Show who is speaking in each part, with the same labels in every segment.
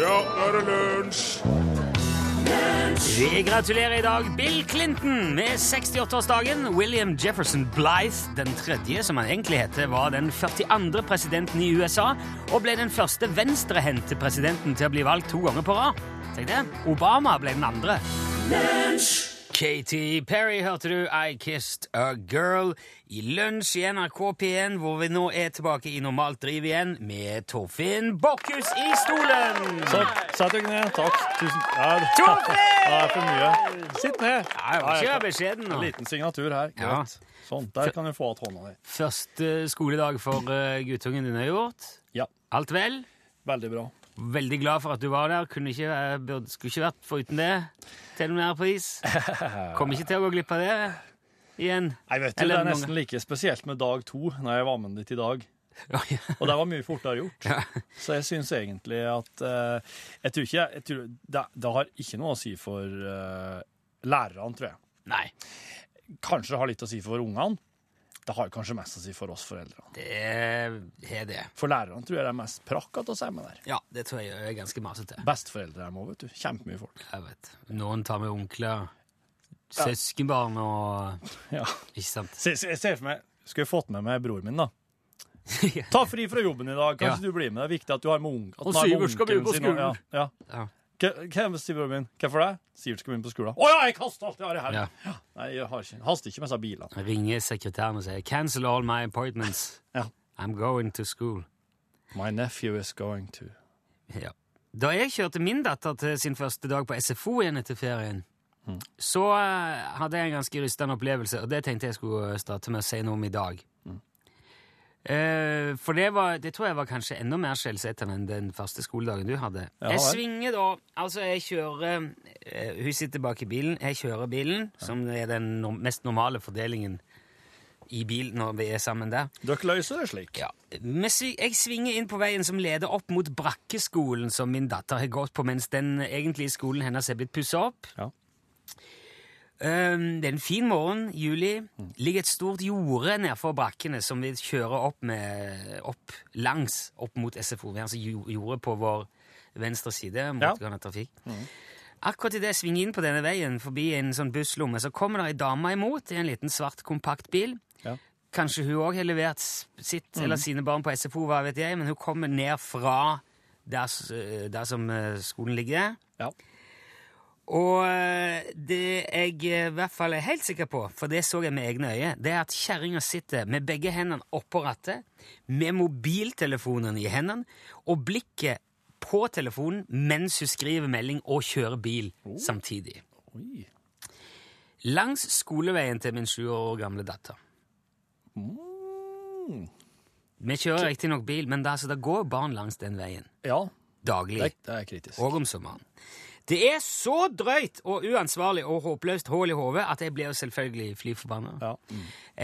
Speaker 1: Ja, nå er det lunsj!
Speaker 2: Vi gratulerer i dag Bill Clinton med 68-årsdagen. William Jefferson Blythe, den tredje, som han egentlig heter, var den 42. presidenten i USA og ble den første venstrehendte presidenten til å bli valgt to ganger på rad. Tenk det. Obama ble den andre. Katy Perry hørte du I Kissed a Girl i lunsj i NRK P1, hvor vi nå er tilbake i normalt driv igjen med Torfinn Bokkhus i stolen.
Speaker 3: Takk. Sett dere ned. Takk. Tusen ja, det-
Speaker 2: Torfinn!
Speaker 3: Ja, Det er for mye. Sitt ned.
Speaker 2: Ja, jeg må ikke
Speaker 3: Ja,
Speaker 2: være beskjeden nå.
Speaker 3: En liten signatur her.
Speaker 2: Ja.
Speaker 3: Greit. Sånn. Der kan du få att hånda di.
Speaker 2: Første skoledag for eh, guttungen din er gjort.
Speaker 3: Ja.
Speaker 2: Alt vel?
Speaker 3: Veldig bra.
Speaker 2: Veldig glad for at du var der. Kunne ikke, eh, burde, skulle ikke vært foruten det til enhver pris. Kommer ikke til å gå glipp av det igjen.
Speaker 3: Jeg vet jo, Det
Speaker 2: Eller
Speaker 3: er nesten
Speaker 2: mange-
Speaker 3: like spesielt med dag to, når jeg var med dit i dag.
Speaker 2: Ja.
Speaker 3: Og det var mye fortere gjort.
Speaker 2: Ja.
Speaker 3: Så jeg syns egentlig at eh, Jeg tror ikke jeg tror, det, det har ikke noe å si for eh, lærerne, tror jeg.
Speaker 2: Nei,
Speaker 3: Kanskje det har litt å si for ungene. Det har kanskje mest å si for oss foreldrene.
Speaker 2: det er er det.
Speaker 3: For lærerne tror jeg det er mest prakk å si med der.
Speaker 2: Ja, det tror jeg er ganske masete.
Speaker 3: Besteforeldre er med, vet du. Kjempemye folk.
Speaker 2: Jeg vet. Noen tar med onkler, søskenbarn og
Speaker 3: Ja.
Speaker 2: Ikke sant?
Speaker 3: Se, se, se for meg, skulle jeg fått med meg broren min da?
Speaker 2: Ja.
Speaker 3: Ta fri fra jobben i dag,
Speaker 2: Ja.
Speaker 3: kanskje du blir med. Det er viktig at du har med ung. At
Speaker 2: Og
Speaker 3: han har med
Speaker 2: Sivert skal begynne på
Speaker 3: onkelen sin og- Ja,
Speaker 2: Ja.
Speaker 3: ja. Hva- Hva sier broren min? Hva for deg? Sivert skal begynne på skolen. Å ja, jeg kaster alt jeg har i her.
Speaker 2: Ja.
Speaker 3: Nei, jeg har ikke. Haster ikke med seg bilene.
Speaker 2: Ringer sekretæren og sier 'Cancel all my appointments.
Speaker 3: Ja.
Speaker 2: I'm going to school'.
Speaker 3: My nephew is going to.
Speaker 2: Ja. Da jeg kjørte min datter til sin første dag på SFO igjen etter ferien,
Speaker 3: Mm.
Speaker 2: så eh, hadde jeg en ganske rystende opplevelse, og det tenkte jeg skulle eh, starte med å si noe om i dag.
Speaker 3: Mm.
Speaker 2: Eh, for det, var, det tror jeg var kanskje enda mer skjellsettende enn den første skoledagen du hadde.
Speaker 3: Ja,
Speaker 2: jeg
Speaker 3: vel.
Speaker 2: svinger da Altså, jeg kjører eh, Hun sitter bak i bilen. Jeg kjører bilen, som er den no mest normale fordelingen i bil når vi er sammen der.
Speaker 3: Dere løser det slik.
Speaker 2: Ja. Men svi- Jeg svinger inn på veien som leder opp mot Brakkeskolen, som min datter har gått på, mens den egentlige skolen hennes er blitt pussa opp.
Speaker 3: Ja.
Speaker 2: Um, det er en fin morgen, juli. Ligger et stort jorde nedfor brakkene som vi kjører opp, med, opp langs opp mot SFO. Vi har altså jo- jordet på vår venstre side. motgående trafikk. Akkurat idet jeg svinger inn på denne veien, forbi en sånn busslomme, så kommer det ei dame imot i en liten svart kompaktbil.
Speaker 3: Ja.
Speaker 2: Kanskje hun òg har levert s- sitt eller sine barn på SFO, hva vet jeg, men hun kommer ned fra der, s- der som eh, skolen ligger.
Speaker 3: Ja.
Speaker 2: Og eh, det jeg eh, i hvert fall er helt sikker på, for det så jeg med egne øyne, det er at kjerringa sitter med begge hendene oppå rattet, med mobiltelefonen i hendene og blikket på telefonen mens hun skriver melding og kjører bil samtidig.
Speaker 3: Oh. Oi.
Speaker 2: Langs skoleveien til min sju år gamle datter.
Speaker 3: Mm.
Speaker 2: Vi kjører riktignok bil, men det, altså, det går barn langs den veien
Speaker 3: Ja,
Speaker 2: daglig.
Speaker 3: det, det er kritisk.
Speaker 2: Og om sommeren. Det er så drøyt og uansvarlig og håpløst hull i hodet at jeg blir jo selvfølgelig fly forbanna.
Speaker 3: Ja.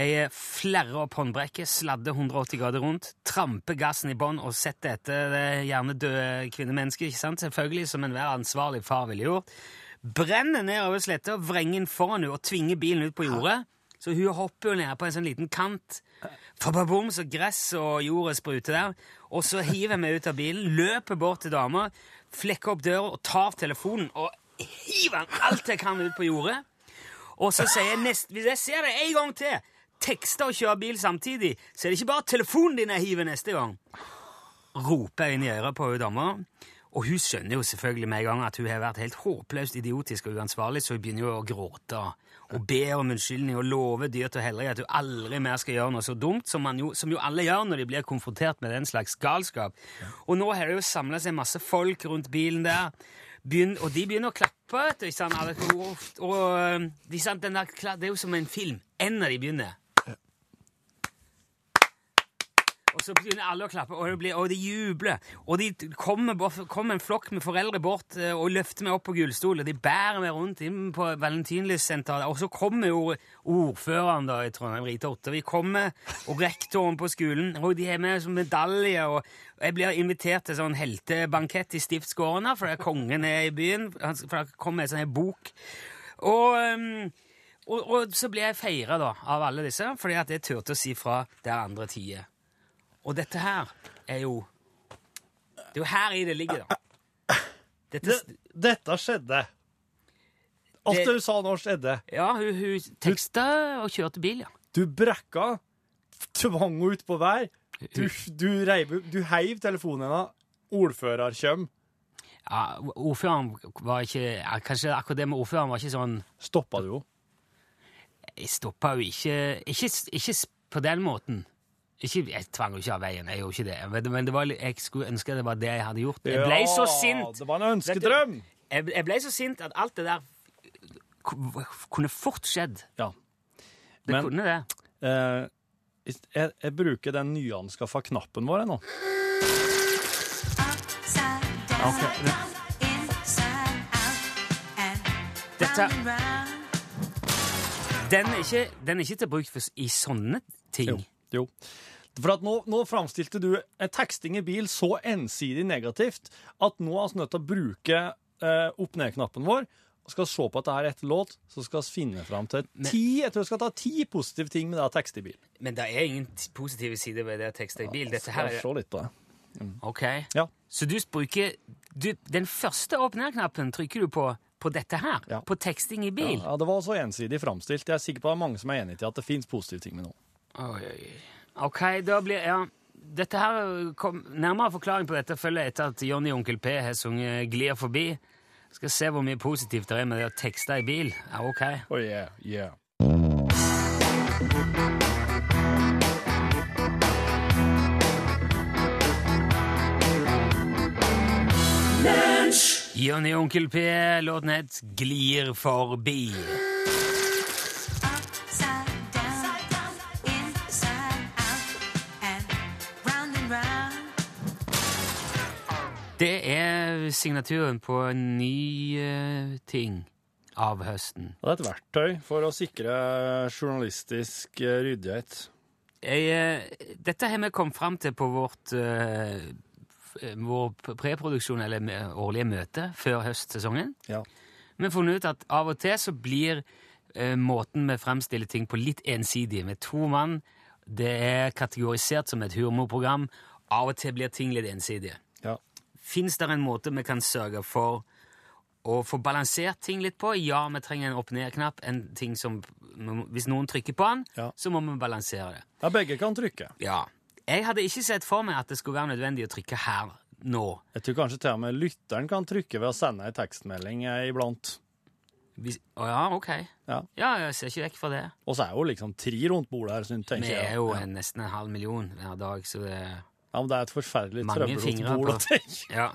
Speaker 2: Jeg flerrer opp håndbrekket, sladder 180 grader rundt, tramper gassen i bånn og setter etter det gjerne døde kvinnemennesket, ikke sant? Selvfølgelig, som enhver ansvarlig far ville gjort. Brenner ned over sletta, vrenger den foran henne og tvinger bilen ut på jordet. Så hun hopper jo ned på en sånn liten kant. Fababom, så gress og jordet spruter der. Og så hiver jeg meg ut av bilen, løper bort til dama, flekker opp døra og tar telefonen og hiver den alt jeg kan ut på jordet. Og så sier jeg nest, Hvis jeg ser det en gang til, tekster og kjører bil samtidig, så er det ikke bare telefonen din jeg hiver neste gang. Roper jeg inn i øret på hun dama. Og hun skjønner jo selvfølgelig med en gang at hun har vært helt håpløst idiotisk og uansvarlig, så hun begynner jo å gråte og be om unnskyldning og love dyrt og hellig at hun aldri mer skal gjøre noe så dumt, som, man jo, som jo alle gjør når de blir konfrontert med den slags galskap. Og nå har det jo samla seg masse folk rundt bilen der, begynn- og de begynner å klappe. vet du, ikke sant? Alle- Og, og, ikke sant, den der, kla- det er jo som en film. En av de begynner. Og så begynner alle å klappe, og, det blir, og de jubler. Og de kommer, bort- kommer en flokk med foreldre bort eh, og løfter meg opp på gullstol, og de bærer meg rundt inn på Valentinlyssenteret. Og så kommer jo ordføreren da i Trondheim, Rita Ottervik, kommer, og rektoren på skolen, og de har med sånn medalje, og og jeg blir invitert til sånn heltebankett i Stiftsgården, her, for det er kongen er i byen, han- for det kommer en sånn her bok. Og... ehm, og, og så ble jeg feira av alle disse, fordi at jeg turte å si fra der andre tider. Og dette her er jo Det er jo her i det ligger, da. Dette,
Speaker 3: Det, dette skjedde. Alt
Speaker 2: Det-
Speaker 3: det du sa nå, skjedde.
Speaker 2: ja, hun, hun teksta og kjørte bil, ja.
Speaker 3: Du brekka, tvang henne utpå vær. Du, du, reiv, du heiv telefonen hennes. Ordfører kjøm.
Speaker 2: ja. Ordføreren var ikke ja, Kanskje akkurat det med ordføreren var ikke sånn
Speaker 3: Stoppa du henne?
Speaker 2: Jeg stoppa jo ikke Ikke, ikke s- på den måten. Ikke, jeg tvang jo ikke av veien, jeg gjorde ikke det. Men- Men det var, litt- jeg skulle ønske det var det jeg hadde gjort. Jeg ble så sint!
Speaker 3: Det var en ønskedrøm.
Speaker 2: Jeg, jeg ble så sint at alt det der ku- kunne fort skjedd.
Speaker 3: Ja.
Speaker 2: Det
Speaker 3: Men-
Speaker 2: kunne det.
Speaker 3: Eh, jeg, jeg bruker den nyanskaffa knappen vår jeg, nå.
Speaker 4: Upside down, inside out, and
Speaker 2: Dette-
Speaker 4: round and round.
Speaker 2: Den er ikke, den er ikke til bruk for, s- i sånne ting.
Speaker 3: Jo. jo. For at nå, nå framstilte du eh, teksting i bil så ensidig negativt at nå er vi altså nødt til å bruke eh, opp-ned-knappen vår. Og skal se på at det her er etter låt, så skal vi finne fram til ti Jeg tror vi skal ta ti positive ting med det å tekste i bil.
Speaker 2: Men det er ingen t- positive sider ved det å tekste i bil. Dette her
Speaker 3: Skal
Speaker 2: er
Speaker 3: se litt på det.
Speaker 2: Ok.
Speaker 3: Ja.
Speaker 2: Så du bruker du, Den første åpnerknappen trykker du på på dette her.
Speaker 3: Ja.
Speaker 2: På teksting i bil.
Speaker 3: Ja, det var så ensidig framstilt. Jeg er sikker på at det er mange som er enig i at det fins positive ting med nå.
Speaker 2: Oi, oi, oi. Ok, da blir Ja. Dette her kom, Nærmere forklaring på dette følger etter at Johnny og Onkel P har sunget 'Glir forbi'. Skal se hvor mye positivt det er med det å tekste i bil. Ja, ok.
Speaker 3: Oh, yeah, yeah.
Speaker 2: Johnny og Onkel P, låten het 'Glir forbi'.
Speaker 4: Upside down, inside out, and round and round.
Speaker 2: Det er signaturen på en ny eh, ting av høsten.
Speaker 3: Og Det er et verktøy for å sikre journalistisk eh, ryddighet.
Speaker 2: Jeg, eh, dette har vi kommet fram til på vårt eh, f- vår p- preproduksjon, eller mø- årlige møte, før høstsesongen.
Speaker 3: Ja.
Speaker 2: Vi har funnet ut at av og til så blir eh, måten vi fremstiller ting på litt ensidig. Med to mann, det er kategorisert som et humorprogram. Av og til blir ting litt ensidige.
Speaker 3: Ja.
Speaker 2: Fins det en måte vi kan sørge for å få balansert ting litt på? Ja, vi trenger en opp-ned-knapp. en ting som, Hvis noen trykker på den,
Speaker 3: Ja.
Speaker 2: så må vi balansere det.
Speaker 3: ja, begge kan trykke.
Speaker 2: Ja. Jeg hadde ikke sett for meg at det skulle være nødvendig å trykke her nå.
Speaker 3: Jeg tror kanskje til og med lytteren kan trykke ved å sende ei tekstmelding eh, iblant.
Speaker 2: Hvis, å ja, ok.
Speaker 3: Ja.
Speaker 2: Ja, jeg ser ikke vekk fra det.
Speaker 3: Og så er jo liksom tre rundt bordet her, så tenker
Speaker 2: Vi
Speaker 3: jeg.
Speaker 2: er jo
Speaker 3: ja.
Speaker 2: en, nesten en halv million hver dag, så det
Speaker 3: ja, men det er et forferdelig
Speaker 2: Mange
Speaker 3: trøblete
Speaker 2: fingre
Speaker 3: bord å
Speaker 2: på.
Speaker 3: tenke.
Speaker 2: Ja.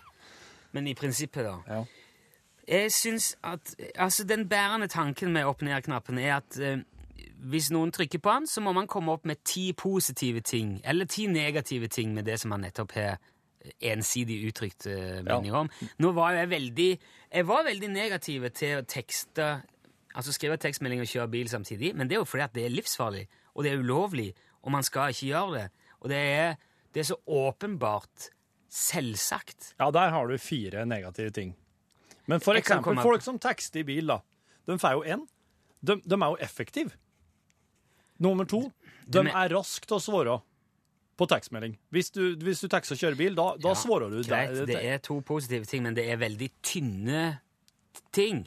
Speaker 2: Men i prinsippet, da.
Speaker 3: Ja.
Speaker 2: Jeg syns at Altså, den bærende tanken med opp-ned-knappen er at eh, hvis noen trykker på den, så må man komme opp med ti positive ting, eller ti negative ting med det som man nettopp har ensidig uttrykt eh, meninger om. Nå var jo jeg veldig Jeg var veldig negativ til å tekste Altså skrive tekstmelding og kjøre bil samtidig, men det er jo fordi at det er livsfarlig, og det er ulovlig, og man skal ikke gjøre det. Og det er, det er så åpenbart selvsagt.
Speaker 3: Ja, der har du fire negative ting. Men for
Speaker 2: Jeg kan
Speaker 3: eksempel
Speaker 2: komme-
Speaker 3: folk som tekster i bil, da. De får jo én. De, de er jo effektive. Nummer to, de
Speaker 2: men-
Speaker 3: er raske til å svare på tekstmelding. Hvis du, hvis du tekster og kjører bil, da, da
Speaker 2: Ja,
Speaker 3: svarer du.
Speaker 2: Greit,
Speaker 3: Det-
Speaker 2: det er to positive ting, men det er veldig tynne ting.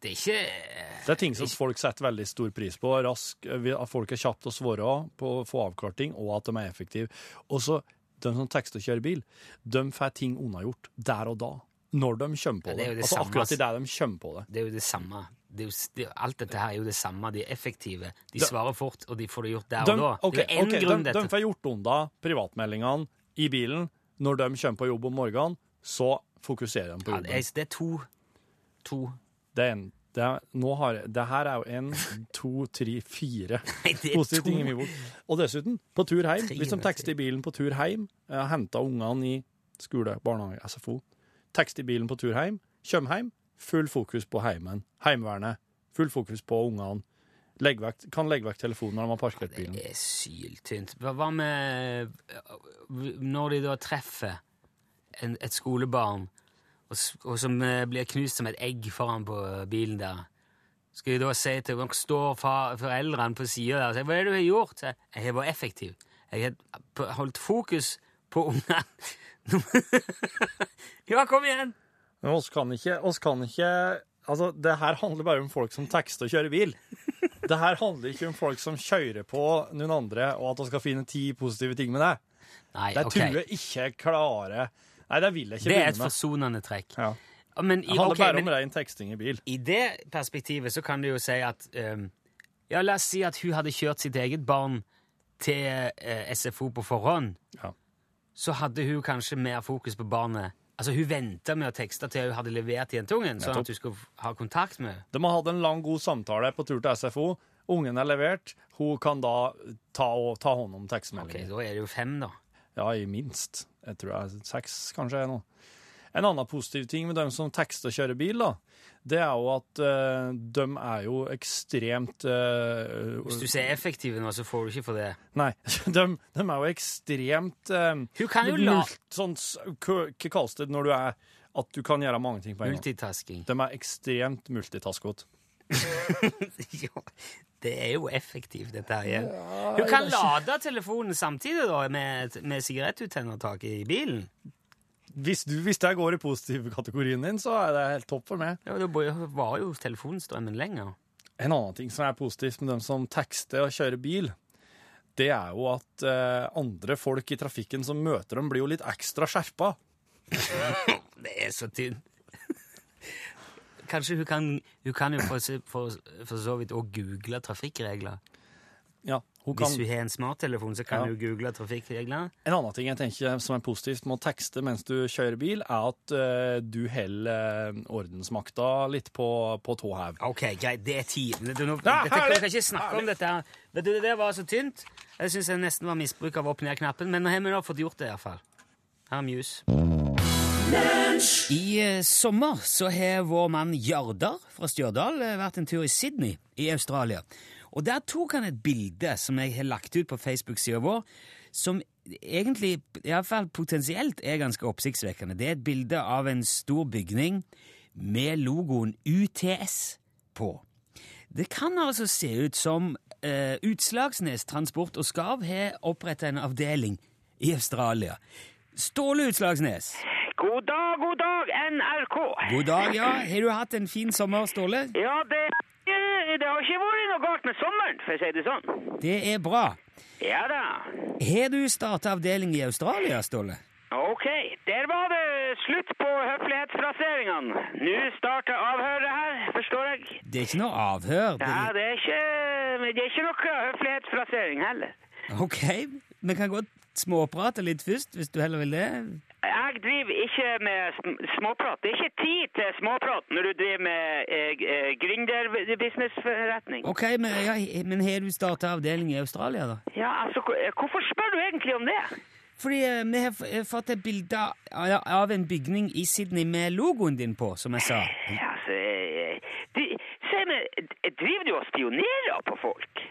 Speaker 2: Det er ikke
Speaker 3: Det er ting som folk setter veldig stor pris på. Rask, eh, at folk er kjapt å svare på å få avklarting, og at de er effektive. Og så, de som tekster og kjører bil, de får ting unnagjort der og da. Når de kommer på
Speaker 2: Ja,
Speaker 3: det.
Speaker 2: det er jo det
Speaker 3: altså
Speaker 2: samme,
Speaker 3: akkurat i det de kommer på det.
Speaker 2: Det er jo det samme. Det er jo, s- det, alt dette her er jo det samme. De er effektive, de
Speaker 3: Da-
Speaker 2: svarer fort, og de får det gjort der
Speaker 3: De,
Speaker 2: og da.
Speaker 3: ok,
Speaker 2: det er jo én
Speaker 3: ok,
Speaker 2: grunn,
Speaker 3: de, de
Speaker 2: dette.
Speaker 3: får gjort unna privatmeldingene i bilen. Når de kommer på jobb om morgenen, så fokuserer de på
Speaker 2: Ja,
Speaker 3: jobben.
Speaker 2: det, er, det er to. To.
Speaker 3: Det er en, det er, nå har, det her er jo en, to, tre, fire
Speaker 2: Nei, det er
Speaker 3: positive ting i
Speaker 2: to.
Speaker 3: min bok. Og dessuten, på tur hjem,
Speaker 2: Tre
Speaker 3: hvis de
Speaker 2: minutter.
Speaker 3: tekster i bilen på tur hjem, eh, henter ungene i skole, barnehage, SFO, tekster i bilen på tur hjem, kommer hjem, full fokus på heimen, heimevernet, full fokus på ungene, Legg vekk, kan legge vekk telefonen når de har parkert bilen.
Speaker 2: Det er syltynt. Hva, hva med eh, når de da treffer en, et skolebarn, og, s- og som eh, blir knust som et egg foran på bilen der? Skal de da si til Nå står fa- foreldrene på sida der og sier 'Hva er det du har gjort?' Jeg, jeg har vært effektiv. Jeg har p- holdt fokus på ungene. ja, kom igjen!
Speaker 3: Men oss kan ikke, oss kan ikke Altså, det her handler bare om folk som tekster og kjører bil. Det her handler ikke om folk som kjører på noen andre, og at vi skal finne ti positive ting med det.
Speaker 2: Nei,
Speaker 3: Det
Speaker 2: ok.
Speaker 3: tror jeg ikke jeg klarer Nei, det vil jeg ikke
Speaker 2: Det er et
Speaker 3: begynne med.
Speaker 2: forsonende trekk.
Speaker 3: Ja.
Speaker 2: Men, i,
Speaker 3: Det handler
Speaker 2: ok,
Speaker 3: bare
Speaker 2: men
Speaker 3: om ren teksting i bil.
Speaker 2: i det perspektivet så kan du jo si at ehm, Ja, la oss si at hun hadde kjørt sitt eget barn til eh, SFO på forhånd.
Speaker 3: Ja.
Speaker 2: Så hadde hun kanskje mer fokus på barnet. Altså, Hun venta med å tekste til hun hadde levert jentungen, sånn
Speaker 3: Nettopp.
Speaker 2: at hun skulle f- ha kontakt med henne.
Speaker 3: De har hatt en lang, god samtale på tur til SFO. Ungen er levert. Hun kan da ta, og, ta hånd om
Speaker 2: Ok,
Speaker 3: tekstmeldingen.
Speaker 2: Da er det jo fem, da.
Speaker 3: Ja, i minst. Jeg tror jeg er seks, kanskje. Nå. En annen positiv ting med dem som tekster og kjører bil, da, det er jo at eh, de er jo ekstremt eh,
Speaker 2: Hvis du ser effektiv nå, så får du ikke for det.
Speaker 3: Nei, de, de er jo ekstremt eh,
Speaker 2: Hun kan jo la
Speaker 3: mult, sånn, s- hva hva kalles det når du er At du kan gjøre mange ting på en gang.
Speaker 2: multitasking.
Speaker 3: De er ekstremt multitaskete.
Speaker 2: Jo, det er jo effektivt, dette her. igjen. Hun kan lade telefonen samtidig da, med, med sigarettuttennertaket i bilen.
Speaker 3: Hvis, du- hvis det går i positiv kategorien din, så er det helt topp for meg.
Speaker 2: Ja, Da bo- varer jo telefonstrømmen lenger.
Speaker 3: En annen ting som er positivt med dem som tekster og kjører bil, det er jo at eh, andre folk i trafikken som møter dem, blir jo litt ekstra skjerpa.
Speaker 2: Det er så tynt. Kanskje hun kan, hun kan jo for, så- for, for så vidt òg google trafikkregler.
Speaker 3: Ja, hun kan.
Speaker 2: Hvis hun har en smarttelefon, så kan
Speaker 3: Ja.
Speaker 2: hun google trafikkregler.
Speaker 3: En annen ting jeg tenker som er positivt med å tekste mens du kjører bil, er at eh, du holder eh, ordensmakta litt på, på tå hev.
Speaker 2: Ok, greit. Det er tiden. Du, nå,
Speaker 3: Ja,
Speaker 2: dette,
Speaker 3: herlig!
Speaker 2: vi kan ikke snakke om dette. her. Vet du, Det der var så tynt. Jeg syns jeg nesten var misbruk av opp-ned-knappen, men nå har vi nå fått gjort det, iallfall. Her er Muse. I eh, sommer så har vår mann Jardar fra Stjørdal eh, vært en tur i Sydney i Australia. Og der tok han et bilde som jeg har lagt ut på Facebook-sida vår, som egentlig, iallfall potensielt, er ganske oppsiktsvekkende. Det er et bilde av en stor bygning med logoen UTS på. Det kan altså se ut som eh, Utslagsnes Transport og Skarv har oppretta en avdeling i Australia. Ståle Utslagsnes.
Speaker 5: God dag, god dag, NRK.
Speaker 2: God dag, ja. Har du hatt en fin sommer, Ståle?
Speaker 5: Ja, det, det har ikke vært noe galt med sommeren, for å si det sånn.
Speaker 2: Det er bra.
Speaker 5: Ja da.
Speaker 2: Har du starta avdeling i Australia, Ståle?
Speaker 5: Ok, der var det slutt på høflighetsfraseringene. Nå starter avhøret her, forstår jeg.
Speaker 2: Det er ikke noe avhør.
Speaker 5: Ja,
Speaker 2: Det...
Speaker 5: det er ikke, men det er ikke noe høflighetsfrasering heller.
Speaker 2: Ok, vi kan godt småprate litt først, hvis du heller vil det.
Speaker 5: Jeg driver ikke med sm- småprat. Det er ikke tid til småprat når du driver med eh, eh, gründer-businessforretning.
Speaker 2: Ok, men, ja, men har du starta avdeling i Australia, da?
Speaker 5: Ja, altså, hvor- hvorfor spør du egentlig om det?
Speaker 2: Fordi eh, vi har f- eh, fått et bilde av- av en bygning i Sydney med logoen din på, som jeg sa.
Speaker 5: Ja, altså, eh, de, se, men, eh, driver du og spionerer på folk?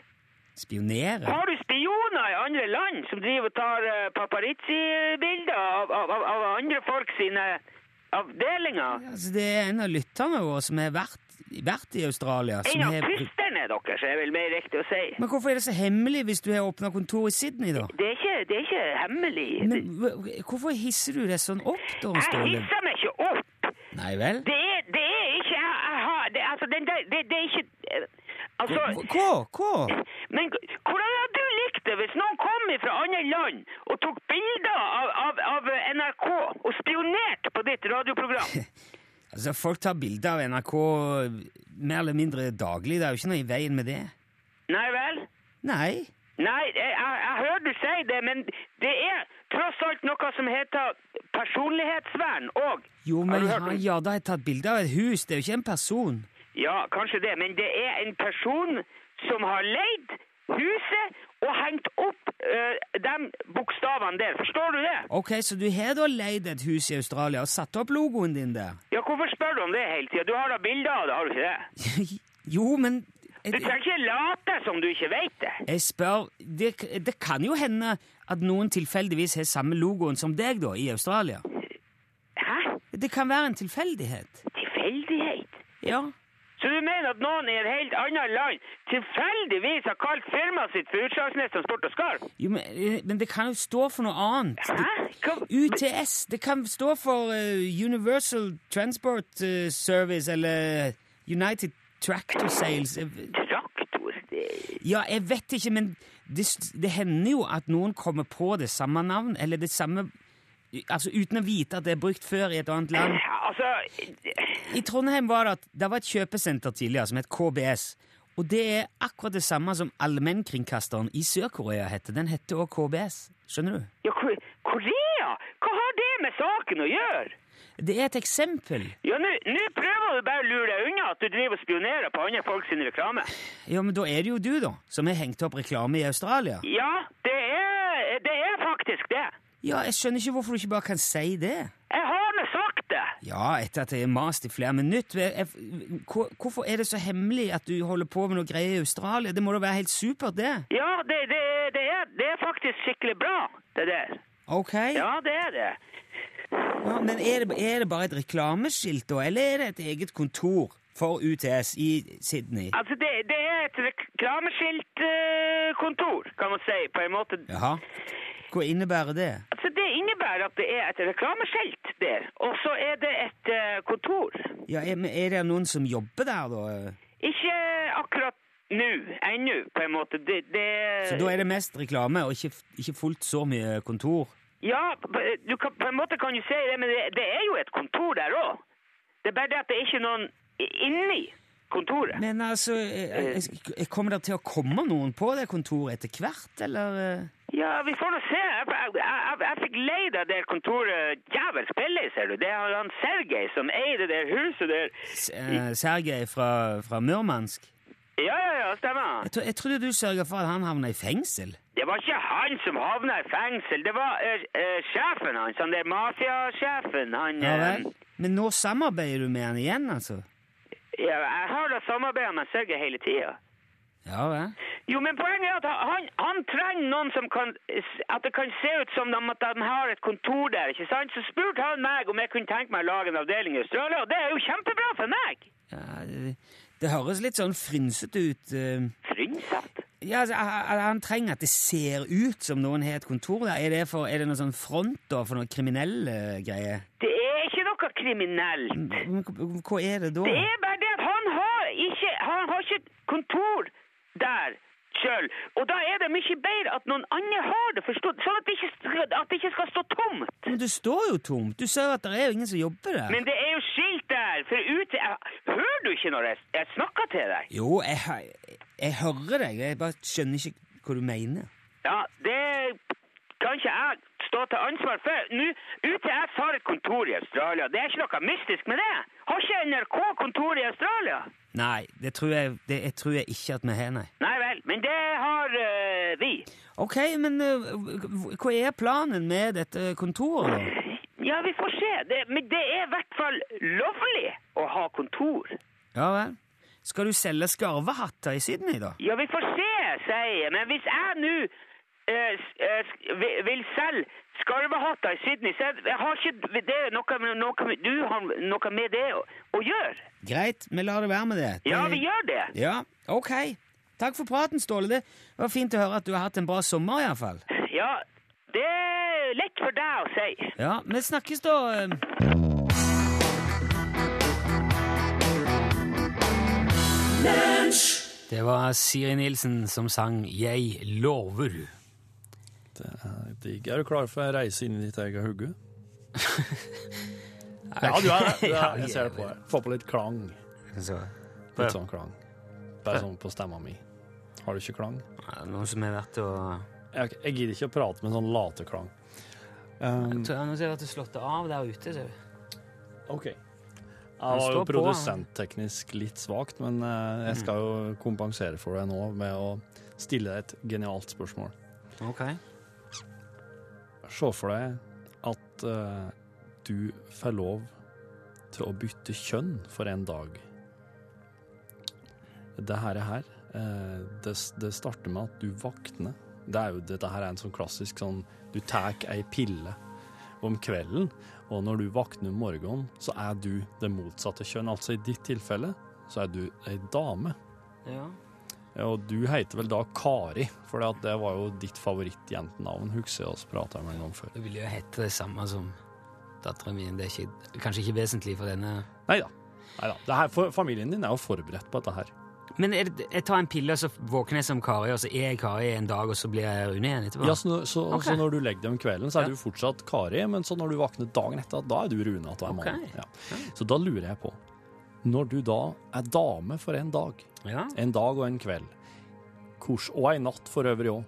Speaker 2: Spionere?
Speaker 5: Har du spioner i andre land som driver og tar eh, paparizzi-bilder av, av, av, av andre folk sine avdelinger?
Speaker 2: Altså, det er en av lytterne våre som har vært, vært i Australia. Som
Speaker 5: En av
Speaker 2: har...
Speaker 5: pusterne deres, er vel mer riktig å si.
Speaker 2: Men hvorfor er det så hemmelig hvis du har åpna kontor i Sydney, da?
Speaker 5: Det er ikke, det er ikke hemmelig.
Speaker 2: Men hv- hvorfor hisser du deg sånn opp, da,
Speaker 5: Jeg
Speaker 2: Ståle?
Speaker 5: hisser meg ikke opp.
Speaker 2: Nei vel?
Speaker 5: Det er, det er ikke jeg, jeg har, det, Altså, den der, det, det er ikke eh, Altså
Speaker 2: Hva? Hva?
Speaker 5: Men hvordan hadde du likt det hvis noen kom fra andre land og tok bilder av, av, av NRK og spionerte på ditt radioprogram?
Speaker 2: Altså, folk tar bilder av NRK eh, mer eller mindre daglig. Det er jo ikke noe i veien med det.
Speaker 5: Nei vel?
Speaker 2: Nei.
Speaker 5: Nei, jeg, jeg, jeg hører du si det, men det er tross alt noe som heter personlighetsvern og
Speaker 2: Jo,
Speaker 5: Har
Speaker 2: men
Speaker 5: du hørt
Speaker 2: han
Speaker 5: om-
Speaker 2: Jarda har tatt bilde av et hus. Det er jo ikke en person.
Speaker 5: Ja, kanskje det, men det er en person som har leid huset og hengt opp eh, de bokstavene der. Forstår du det?
Speaker 2: Ok, så du har da leid et hus i Australia og satt opp logoen din der?
Speaker 5: Ja, hvorfor spør du om det hele tida? Du har da bilder av det, har du ikke det?
Speaker 2: jo, men
Speaker 5: Du trenger ikke late som du ikke vet det.
Speaker 2: Jeg spør det, det kan jo hende at noen tilfeldigvis har samme logoen som deg, da, i Australia.
Speaker 5: Hæ?
Speaker 2: Det kan være en tilfeldighet.
Speaker 5: Tilfeldighet?
Speaker 2: Ja.
Speaker 5: Så Så du mener at noen i et helt annet land tilfeldigvis har kalt firmaet sitt for Utslagsnes Transport og Skarv?
Speaker 2: Jo, men, eh, men det kan jo stå for noe annet.
Speaker 5: Hæ? Hva?
Speaker 2: UTS. Det kan stå for eh, Universal Transport eh, Service eller United Tractor Sales. Eh,
Speaker 5: Traktor? Det-
Speaker 2: Ja, jeg vet ikke, men det, s- det hender jo at noen kommer på det samme navn, eller det samme Altså uten å vite at det er brukt før i et annet land.
Speaker 5: Altså
Speaker 2: I Trondheim var det at det var et kjøpesenter tidligere som het KBS. Og det er akkurat det samme som allmennkringkasteren i Sør-Korea heter. Den heter òg KBS. Skjønner du?
Speaker 5: ja, Ko- Korea? Hva har det med saken å gjøre?
Speaker 2: Det er et eksempel.
Speaker 5: Ja, Nå nå prøver du bare å lure deg unna at du driver og spionerer på andre folk sin reklame.
Speaker 2: Ja, men da er det jo du, da, som har hengt opp reklame i Australia.
Speaker 5: Ja, det er, det er faktisk det.
Speaker 2: Ja, jeg skjønner ikke hvorfor du ikke bare kan si det.
Speaker 5: Jeg har nå sagt det.
Speaker 2: Ja, etter at jeg har mast i flere minutter. Jeg- jeg- hvor- Hvorfor er det så hemmelig at du holder på med noe greier i Australia? Det må da være helt supert, det.
Speaker 5: Ja, det, det, det, er, det er faktisk skikkelig bra, det der.
Speaker 2: Ok?
Speaker 5: Ja, det er det.
Speaker 2: Ja, men er det, er det bare et reklameskilt, da, eller er det et eget kontor for UTS i Sydney?
Speaker 5: Altså, det, det er et reklameskiltkontor, kan man si, på en måte.
Speaker 2: Jaha. Hva innebærer det?
Speaker 5: Altså, det innebærer at det er et reklameskilt der, og så er det et eh, kontor.
Speaker 2: Ja, er, men er det noen som jobber der, da?
Speaker 5: Ikke akkurat nå, ennå, på en måte. Det, det
Speaker 2: Så da er det mest reklame og ikke, ikke fullt så mye kontor?
Speaker 5: Ja, p- du kan, på en måte kan du si det, men det, det er jo et kontor der òg. Det er bare det at det er ikke noen i- inni kontoret.
Speaker 2: Men altså, eh, eh, kommer det til å komme noen på det kontoret etter hvert, eller? eh?
Speaker 5: Ja, vi får nå se. Jeg, jeg, jeg, jeg fikk leid av det kontoret jævels billig, ser du. Det er han Sergej som eier det der huset der.
Speaker 2: S- eh, Sergej fra, fra Murmansk?
Speaker 5: Ja, ja, ja, stemmer.
Speaker 2: Jeg, tro, jeg trodde du sørga for at han havna i fengsel?
Speaker 5: Det var ikke han som havna i fengsel. Det var eh, eh, sjefen hans, han der mafiasjefen. Han
Speaker 2: Ja
Speaker 5: eh,
Speaker 2: vel? Men nå samarbeider du med han igjen, altså?
Speaker 5: eh, ja, Jeg har da samarbeida med Sergej hele tida.
Speaker 2: Ja vel?
Speaker 5: Jo, men poenget er at han, han trenger noen som kan At det kan se ut som om at de har et kontor der, ikke sant? Så spurte han meg om jeg kunne tenke meg å lage en avdeling i Australia, og det er jo kjempebra for meg!
Speaker 2: Ja, det, det høres litt sånn frynsete ut. eh.
Speaker 5: Frynsatt.
Speaker 2: Ja, altså, a- a- Han trenger at det ser ut som noen har et kontor der. Er det, for, er det noen sånn front da, for noen kriminelle greier?
Speaker 5: Det er ikke noe kriminelt.
Speaker 2: Men Hva hva er det da?
Speaker 5: Det er bare det at han har ikke, han har ikke et kontor der sjøl. Og da er det mye bedre at noen andre har det, forstått? Sånn at det ikke, skal- at det ikke skal stå tomt.
Speaker 2: Men du står jo tomt! Du sa jo at det er jo ingen som jobber der.
Speaker 5: Men det er jo skilt der, for ute jeg- Hører du ikke når jeg, jeg snakker til deg?
Speaker 2: Jo, jeg, hø- jeg hører deg. Jeg bare skjønner ikke hva du mener.
Speaker 5: Ja, det kan ikke jeg stå til ansvar for. Nå, UTS har et kontor i Australia. Det er ikke noe mystisk med det. Har ikke NRK kontor i Australia?
Speaker 2: Nei, det tror jeg, det, jeg tror jeg ikke at vi har, nei.
Speaker 5: Nei vel, men det har eh, vi.
Speaker 2: Ok, men eh, hv- hva er planen med dette kontoret, da?
Speaker 5: Ja, vi får se. Det, men det er i hvert fall lovlig å ha kontor.
Speaker 2: Ja vel? Skal du selge skarvehatter i Sydney, da?
Speaker 5: Ja, vi får se, sier jeg. Men hvis jeg nå eh, s- eh, sk- vi- vil selge skarvehatter i Sydney, så jeg- jeg har ikke det noe, med- noe, med- du har noe med det å, å gjøre.
Speaker 2: Greit, vi lar det være med det. det
Speaker 5: Ja,
Speaker 6: Mm.
Speaker 5: vi gjør det.
Speaker 2: Ja, ok. Takk for praten, Ståle. Det var fint å høre at du har hatt en bra sommer, iallfall.
Speaker 5: Ja, det er lett for deg å si.
Speaker 2: Ja, vi snakkes da. eh. Det var Siri Nilsen som sang 'Jeg lover'.
Speaker 3: Digg. Er du klar for å reise inn i ditt eget hugge? Ja, du er det. Du
Speaker 2: Ja,
Speaker 3: er- Jeg ser det på deg. Få på litt klang.
Speaker 2: Så,
Speaker 3: Litt sånn klang. Bare sånn på stemma mi. Har du ikke klang?
Speaker 2: ja, noe som har vært å
Speaker 3: Jeg, jeg gidder ikke å prate med sånn lateklang. Um,
Speaker 2: Tror jeg noe som har vært å slått av der ute. ser du.
Speaker 3: OK. Jeg
Speaker 2: Han
Speaker 3: var jo
Speaker 2: står på, Mm.
Speaker 3: produsentteknisk litt svakt, men eh, jeg skal jo kompensere for det nå med å stille deg et genialt spørsmål.
Speaker 2: Ok.
Speaker 3: Se for deg at eh, du får lov til å bytte kjønn for en dag. Det her, er her eh, det, det starter med at du våkner. Det er jo, dette her er en sånn klassisk sånn Du tar ei pille om kvelden, og når du våkner om morgenen, så er du det motsatte kjønn. Altså i ditt tilfelle så er du ei dame.
Speaker 2: Ja.
Speaker 3: Og du heter vel da Kari, for det at det var jo ditt favorittjentenavn, husker jeg oss prata om en gang før.
Speaker 2: Du ville jo hete det samme som datteren min. Det er ikke, kanskje ikke vesentlig for denne
Speaker 3: Nei da. Familien din er jo forberedt på dette her.
Speaker 2: Men er det, jeg tar en pille, og så våkner jeg som Kari, og så er jeg Kari en dag, og så blir jeg Rune igjen etterpå?
Speaker 3: Ja, så, nå- så,
Speaker 2: Ok.
Speaker 3: så når du legger deg om kvelden, så er
Speaker 2: Ja.
Speaker 3: du fortsatt Kari, men så når du våkner dagen etter, da er du Rune. At du er
Speaker 2: Ok.
Speaker 3: mann. Ja. Så da lurer jeg på, når du da er dame for en dag,
Speaker 2: ja.
Speaker 3: en dag og en kveld, Kors, og en natt for øvrig òg,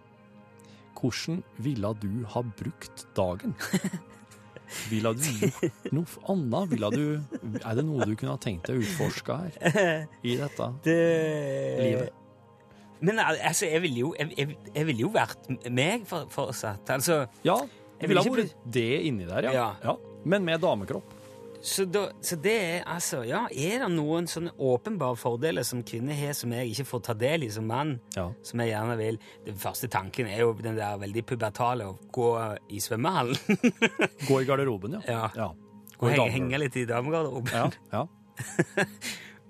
Speaker 3: hvordan ville du ha brukt dagen? Ville du gjort noe annet? Ville du, er det noe du kunne ha tenkt deg å utforske her? I dette livet?
Speaker 2: Men al- altså, jeg ville jo, jeg, jeg, jeg ville jo vært m- meg for, fortsatt. Altså,
Speaker 3: Ja,
Speaker 2: Jeg
Speaker 3: ville ha
Speaker 2: vil ikke
Speaker 3: vært det inni der, ja.
Speaker 2: Ja.
Speaker 3: ja. Men med damekropp.
Speaker 2: så, da, så det er altså Ja, er det noen sånne åpenbare fordeler som kvinner har, som jeg ikke får ta del i som mann,
Speaker 3: Ja.
Speaker 2: som jeg gjerne vil Den første tanken er jo den der veldig pubertale å gå i svømmehallen
Speaker 3: Gå i garderoben, ja.
Speaker 2: Ja.
Speaker 3: Gå
Speaker 2: og
Speaker 3: i
Speaker 2: henge,
Speaker 3: damegarderoben.
Speaker 2: henge litt i damegarderoben.
Speaker 3: Ja, ja.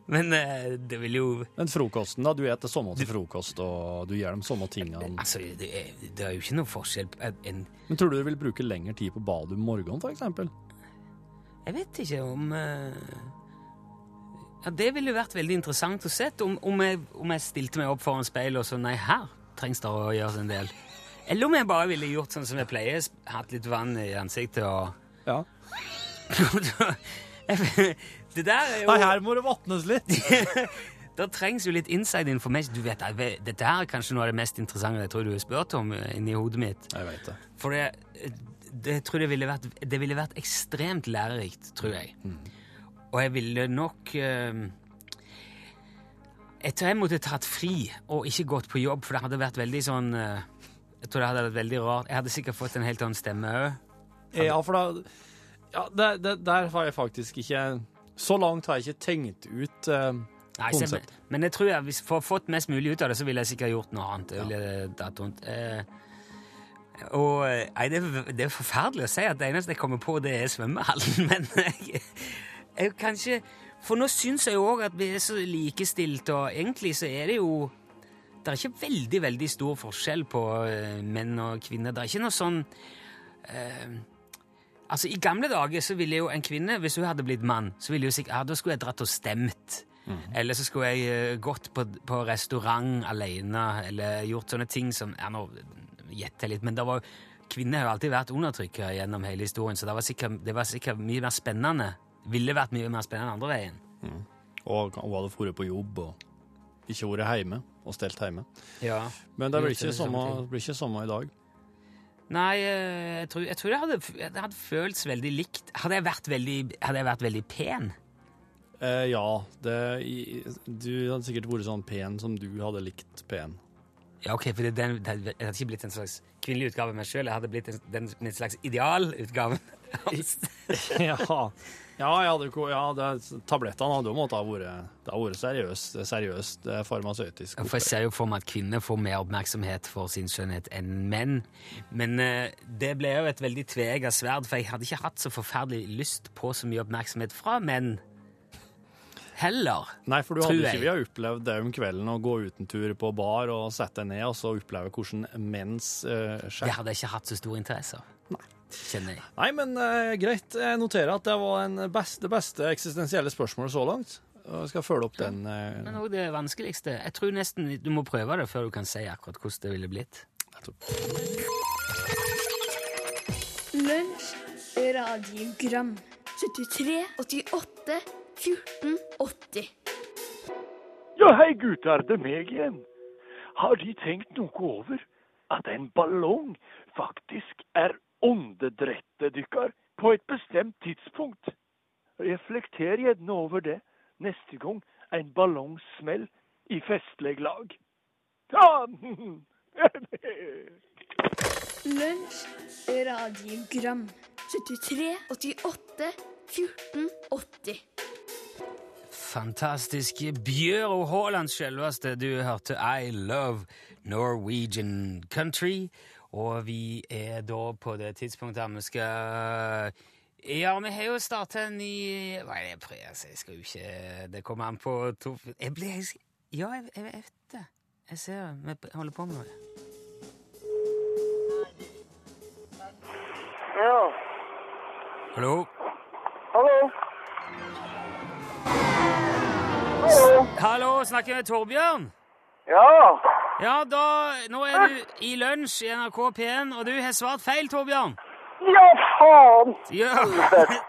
Speaker 2: Men eh, det vil jo
Speaker 3: Men frokosten, da? Du spiser samme til frokost, og du gjør de samme tingene.
Speaker 2: Altså, det er, det er jo ikke noe forskjell på en- en
Speaker 3: Men tror du du vil bruke lengre tid på badet om morgenen, for eksempel?
Speaker 2: Jeg vet ikke om eh, Ja, Det ville jo vært veldig interessant å se om, om, jeg, om jeg stilte meg opp foran speilet og så Nei, her trengs det å gjøres en del. Eller om jeg bare ville gjort sånn som jeg pleier, sp- hatt litt vann i ansiktet og
Speaker 3: Ja.
Speaker 2: Det der er jo
Speaker 3: Nei, her må det vatnes litt!
Speaker 2: Da trengs jo litt inside information. Du vet, jeg vet- Dette her er kanskje noe av det mest interessante jeg tror du har spurt om eh, inni hodet mitt.
Speaker 3: Jeg vet det.
Speaker 2: For det, det, jeg tror det ville vært, det ville vært ekstremt lærerikt, tror jeg. Og jeg ville nok eh, Jeg tror jeg måtte tatt fri og ikke gått på jobb, for det hadde vært veldig sånn eh, Jeg tror det hadde vært veldig rart. Jeg hadde sikkert fått en helt annen stemme òg.
Speaker 3: Ja, for da Ja, det, det, der har jeg faktisk ikke Så langt har jeg ikke tenkt ut eh,
Speaker 2: Men,
Speaker 3: konseptet.
Speaker 2: men jeg tror jeg, hvis for å fått mest mulig ut av det, så ville jeg sikkert gjort noe annet. Jeg ville tatt rundt. Eh, og eh, nei, det, er- det er forferdelig å si at det eneste jeg kommer på, det er svømmehallen, men jeg, jeg kanskje For nå syns jeg jo òg at vi er så likestilt, og egentlig så er det jo Det er ikke veldig, veldig stor forskjell på eh, menn og kvinner. Det er ikke noe sånn eh, Altså, I gamle dager så ville jo en kvinne, hvis hun hadde blitt mann, så ville hun sikkert, ja, da skulle jeg dratt og stemt. Eller så skulle jeg eh, gått på, på restaurant alene, eller gjort sånne ting som ja, Nå gjetter jeg litt, men det var, kvinner har jo alltid vært undertrykket gjennom hele historien, så det var sikkert, det var sikkert mye mer spennende. Ville vært mye mer spennende andre veien.
Speaker 3: Og hun hadde vært på jobb og ikke vært hjemme og stelt hjemme.
Speaker 2: Ja.
Speaker 3: Men det blir
Speaker 2: Det er
Speaker 3: ikke samme,
Speaker 2: samtidig.
Speaker 3: det blir ikke samme i dag.
Speaker 2: Nei, eh, jeg tror, jeg tror det, hadde, det hadde føltes veldig likt. Hadde jeg vært veldig, hadde jeg vært veldig pen?
Speaker 3: Eh, ja, det, i- du hadde sikkert vært sånn pen som du hadde likt pen.
Speaker 2: Ja, ok, for det, den, det hadde- jeg hadde ikke blitt en slags kvinnelig utgave av meg sjøl. Jeg hadde blitt en, den, en slags idealutgave.
Speaker 3: Ja, ja, jeg hadde, ko- ja det, tablettene hadde jo måttet ha vært, det har vært seriøst, seriøst eh, farmasøytisk.
Speaker 2: For jeg ser jo for meg at kvinner får mer oppmerksomhet for sin skjønnhet enn menn. Men eh, det ble jo et veldig tveegget sverd, for jeg hadde ikke hatt så forferdelig lyst på så mye oppmerksomhet fra menn heller.
Speaker 3: Nei, for du
Speaker 2: Tror
Speaker 3: hadde
Speaker 2: jeg.
Speaker 3: ikke vi har opplevd det om kvelden å gå ut en tur på bar og sette deg ned og så oppleve hvordan menns eh,
Speaker 2: Det
Speaker 3: skjer.
Speaker 2: hadde jeg ikke hatt så stor interesse av. Kjenner jeg.
Speaker 3: Nei, men eh, greit. Jeg noterer at det var en best, det beste eksistensielle spørsmålet så langt. Og Jeg skal følge opp den. eh,
Speaker 2: Men også det vanskeligste. Jeg tror nesten du må prøve det før du kan si akkurat hvordan det ville blitt.
Speaker 7: Lunsj radiogram 73 88 14 80
Speaker 8: Ja, hei gutter, det er meg igjen. Har De tenkt noe over at en ballong faktisk er åndedrettet deres på et bestemt tidspunkt? Reflekter gjerne over det neste gang en ballong smell i festlig lag. Ja.
Speaker 7: Lunsj radiogram 73 88 14 80
Speaker 2: Fantastiske Bjøro Haaland selveste. Du hørte I Love Norwegian Country. Og vi er da på det tidspunktet her vi skal Ja, vi har jo starta en ny Nei, jeg, prøver, altså, jeg skal jo ikke Det kommer an på to Jeg blir jeg, Ja, jeg, jeg vet det. Jeg ser det. Vi holder på med noe.
Speaker 5: Ja.
Speaker 2: Hallo?
Speaker 5: Hallo? Hallo?
Speaker 2: Hallo, snakker jeg med Torbjørn?
Speaker 5: Ja.
Speaker 2: Ja, da Nå er du i lunsj i NRK P1, og du har svart feil, Torbjørn.
Speaker 5: Ja, faen!
Speaker 2: Ja.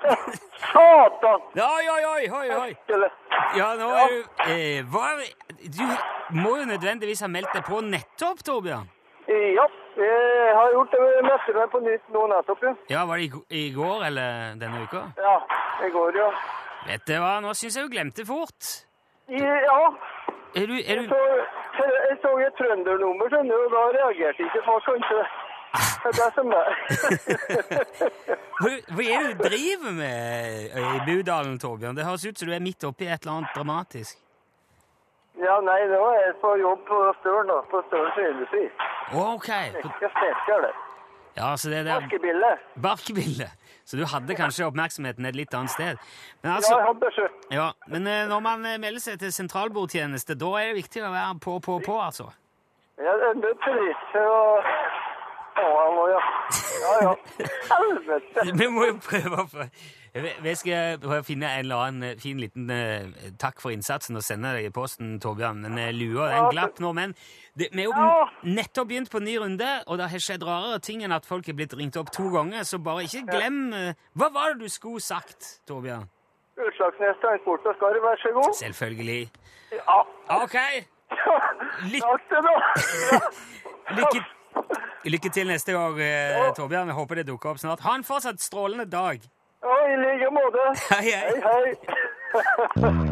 Speaker 5: Satan!
Speaker 2: Oi, oi, oi, oi, oi. Ja, nå er du eh, Hva Du må jo nødvendigvis ha meldt deg på nettopp, Torbjørn.
Speaker 5: Eh, Ja, jeg har gjort det. Jeg møtte meg på nytt nå nettopp, ja.
Speaker 2: Ja, var det i, g- i går eller denne uka?
Speaker 5: Ja, det går, ja.
Speaker 2: Vet du hva, nå syns jeg du glemte fort.
Speaker 5: Ja,
Speaker 2: Er du, er du
Speaker 5: så jeg så et trøndernummer, skjønner du, og da reagerte ikke folk kanskje. Det er det som er.
Speaker 2: Hva hva er det du driver med eh, i Budalen, Torbjørn? Det høres ut som du er midt oppi et eller annet dramatisk.
Speaker 5: ja, nei, nå er jeg på jobb på Støren, da. På Støren treindustri.
Speaker 2: Å, Ok.
Speaker 5: Jeg snekker det.
Speaker 2: Ja, så det der
Speaker 5: Askebille.
Speaker 2: barkbildet. Så du hadde kanskje oppmerksomheten et litt annet sted. Men
Speaker 5: Ja, jeg
Speaker 2: altså,
Speaker 5: hadde sjø.
Speaker 2: ja, men eh, når man eh, melder seg til sentralbordtjeneste, da er det viktig å være på, på, på, altså.
Speaker 5: Jeg er nødt til det, og... Å, jeg må, ja. Ja, ja. Helvete.
Speaker 2: Vi må jo prøve å få Vi vi skal prøve å finne en eller annen fin liten eh, takk for innsatsen og sende deg i posten, Torbjørn. Men eh, lua den glapp nå, men det, vi er jo
Speaker 5: Ja.
Speaker 2: n- nettopp begynt på ny runde, og det har skjedd rarere ting enn at folk er blitt ringt opp to ganger, så bare ikke glem eh, Hva var det du skulle sagt, Torbjørn?
Speaker 5: Utslagsnes transport og skarv, vær så god.
Speaker 2: Selvfølgelig.
Speaker 5: Ja.
Speaker 2: OK! Lykke-
Speaker 5: Takk til deg.
Speaker 2: Lykke, lykke til neste gang, eh, Torbjørn. Jeg håper det dukker opp snart. Ha en fortsatt strålende dag.
Speaker 5: Ja, i like måte.
Speaker 2: Hei, hei.
Speaker 5: Hei, hei.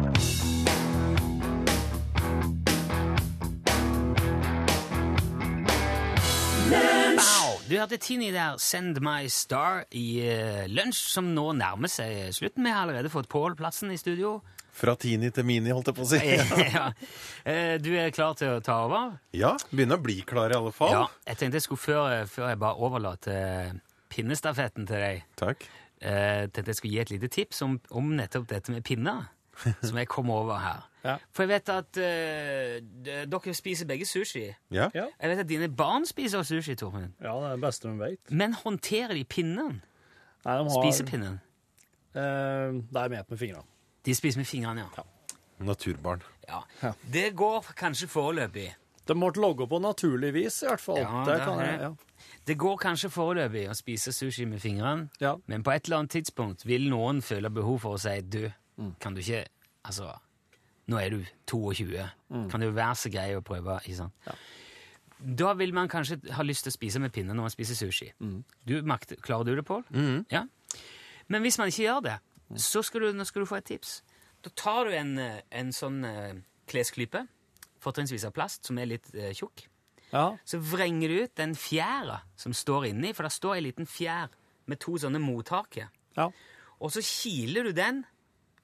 Speaker 2: Wow, du hørte Tini der, Send My Star i eh, lunsj, som nå nærmer seg slutten. Vi har allerede fått Pål plassen i studio.
Speaker 9: Fra Tini til Mini, holdt jeg på å si.
Speaker 2: ja. Eh, Du er klar til å ta over?
Speaker 9: Ja, begynner å bli klar i alle fall.
Speaker 2: Ja. Jeg tenkte jeg skulle før, eh, før jeg bare overlater eh, pinnestafetten til deg,
Speaker 9: Takk.
Speaker 2: eh, tenkte jeg skulle gi et lite tips om, om nettopp dette med pinner, som jeg kom over her.
Speaker 3: Ja.
Speaker 2: For jeg vet at eh, d- dere spiser begge sushi.
Speaker 9: Ja.
Speaker 3: Ja.
Speaker 2: Jeg vet at dine barn spiser sushi, Tormund.
Speaker 3: Ja, det er det beste de vet.
Speaker 2: Men håndterer de pinnen?
Speaker 3: Nei, de har,
Speaker 2: Spisepinnen?
Speaker 3: Eh, det er med med fingrene.
Speaker 2: De spiser med fingrene, ja.
Speaker 9: Naturbarn.
Speaker 2: Ja. Det går kanskje foreløpig.
Speaker 3: De måtte logge på naturlig vis, i hvert fall.
Speaker 2: Ja,
Speaker 3: det
Speaker 2: det
Speaker 3: kan
Speaker 2: er-
Speaker 3: jeg, ja.
Speaker 2: Det går kanskje foreløpig å spise sushi med fingrene,
Speaker 3: Ja.
Speaker 2: men på et eller annet tidspunkt vil noen føle behov for å si du, kan du ikke Altså, nå er du 22. Kan du være så grei å prøve? Ikke sant? Da vil man kanskje ha lyst til å spise med pinne når man spiser sushi. Du, makter, klarer du det, Pål? Ja? Men hvis man ikke gjør det, så skal du, nå skal du få et tips. Da tar du en, eh, en sånn eh, klesklype, fortrinnsvis av plast, som er litt eh, tjukk.
Speaker 3: Ja.
Speaker 2: Så vrenger du ut den fjæra som står inni, for der står ei liten fjær med to sånne mottaker.
Speaker 3: Ja.
Speaker 2: Og så kiler du den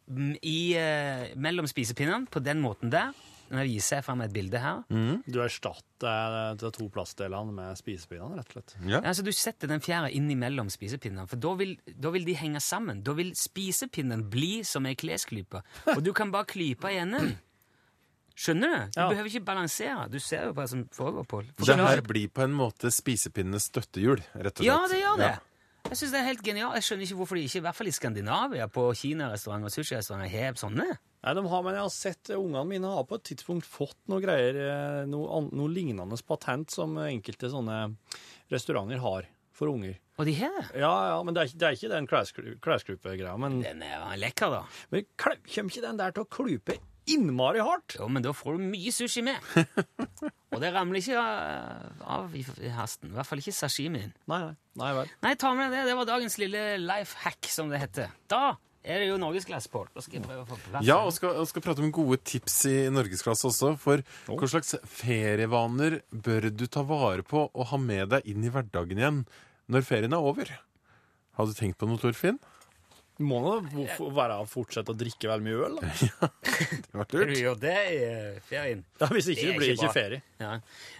Speaker 2: mm, i, eh, mellom spisepinnene på den måten der. Nå viser jeg fram et bilde her.
Speaker 3: Du erstatter eh, de to plastdelene med spisepinnene, rett og slett.
Speaker 2: Altså, du setter den fjæra innimellom spisepinnene, for da vil, da vil de henge sammen. Da vil spisepinnen bli som ei klesklype, og du kan bare klype i enden. Skjønner du? Du
Speaker 3: Ja.
Speaker 2: behøver ikke balansere. Du ser jo hva som foregår, Pål.
Speaker 9: Det her blir på en måte spisepinnenes støttehjul, rett og slett.
Speaker 2: Ja, det gjør det.
Speaker 9: Ja.
Speaker 2: Jeg synes det er helt genialt. Jeg skjønner ikke hvorfor de ikke, i hvert fall i Skandinavia, på kinarestauranter og sushirestauranter, har sånne.
Speaker 3: Nei, de har, men jeg har sett eh, ungene mine har på et tidspunkt fått noe greier, eh, noe, an- noe lignende patent som eh, enkelte sånne restauranter har for unger.
Speaker 2: Og de har det.
Speaker 3: Ja, ja, men det er, ikke- det er ikke den klesklu- klesklupe-greia, men,
Speaker 2: Den er lekker, da.
Speaker 3: men kl- kommer ikke den der til å klype innmari hardt?
Speaker 2: Jo, men da får du mye sushi med. Og det ramler ikke eh, av i i hasten. I hvert fall ikke sashimien.
Speaker 3: Nei, nei, nei vel.
Speaker 2: Nei, ta med deg det. Det var dagens lille life hack, som det heter. Da er det jo norgesglass, Pål. Da skal jeg prøve å få på plass.
Speaker 9: Ja, og skal, og skal prate om gode tips i norgesklasse også. For hva slags ferievaner bør du ta vare på og ha med deg inn i hverdagen igjen når ferien er over? Har du tenkt på noe, Torfinn?
Speaker 3: Må nå hvorfor være å fortsette å drikke veldig mye øl, da.
Speaker 9: Det har vært
Speaker 2: Skal du
Speaker 9: lurt.
Speaker 2: gjøre det i eh, ferien?
Speaker 3: Ja, hvis ikke,
Speaker 2: Det er
Speaker 3: det blir
Speaker 2: ikke
Speaker 3: ikke
Speaker 2: bra.
Speaker 3: ferie.
Speaker 2: Ja.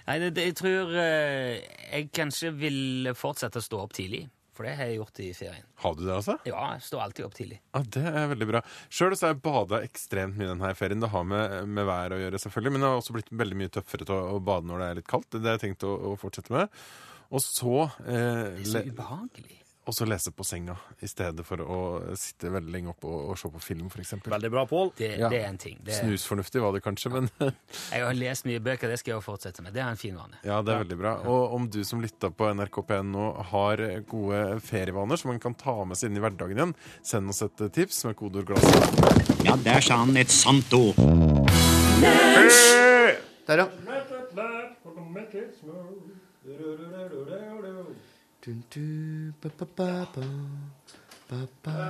Speaker 2: Nei, det, det, jeg tror eh, jeg kanskje vil fortsette å stå opp tidlig. For det har jeg gjort i ferien.
Speaker 9: Har du det, altså?
Speaker 2: Ja, jeg står alltid opp tidlig.
Speaker 9: Ja, Det er veldig bra. Sjøl har jeg bada ekstremt mye denne ferien. Det har med, med vær å gjøre, selvfølgelig, men det har også blitt veldig mye tøffere til å, å bade når det er litt kaldt. Det har jeg tenkt å, å fortsette med. Og så, eh,
Speaker 2: Det er
Speaker 9: le,
Speaker 2: så ubehagelig.
Speaker 9: og så lese på senga i stedet for å sitte veldig lenge oppe og, og se på film, f.eks.
Speaker 3: Veldig bra, Pål.
Speaker 2: Det,
Speaker 9: Ja.
Speaker 2: det er en ting. Det,
Speaker 9: Snusfornuftig var det kanskje, men
Speaker 2: jeg har lest mye bøker, det skal jeg også fortsette med. Det er en fin vane.
Speaker 9: ja, det er veldig bra. Og om du som lytta på NRK P1 nå har gode ferievaner som man kan ta med seg inn i hverdagen igjen, send oss et tips med kodeord 'glass'.
Speaker 10: Ja, der sa han et sant ord.
Speaker 6: Der, ja. Dun, du, ba, ba, ba, ba, ba, ba.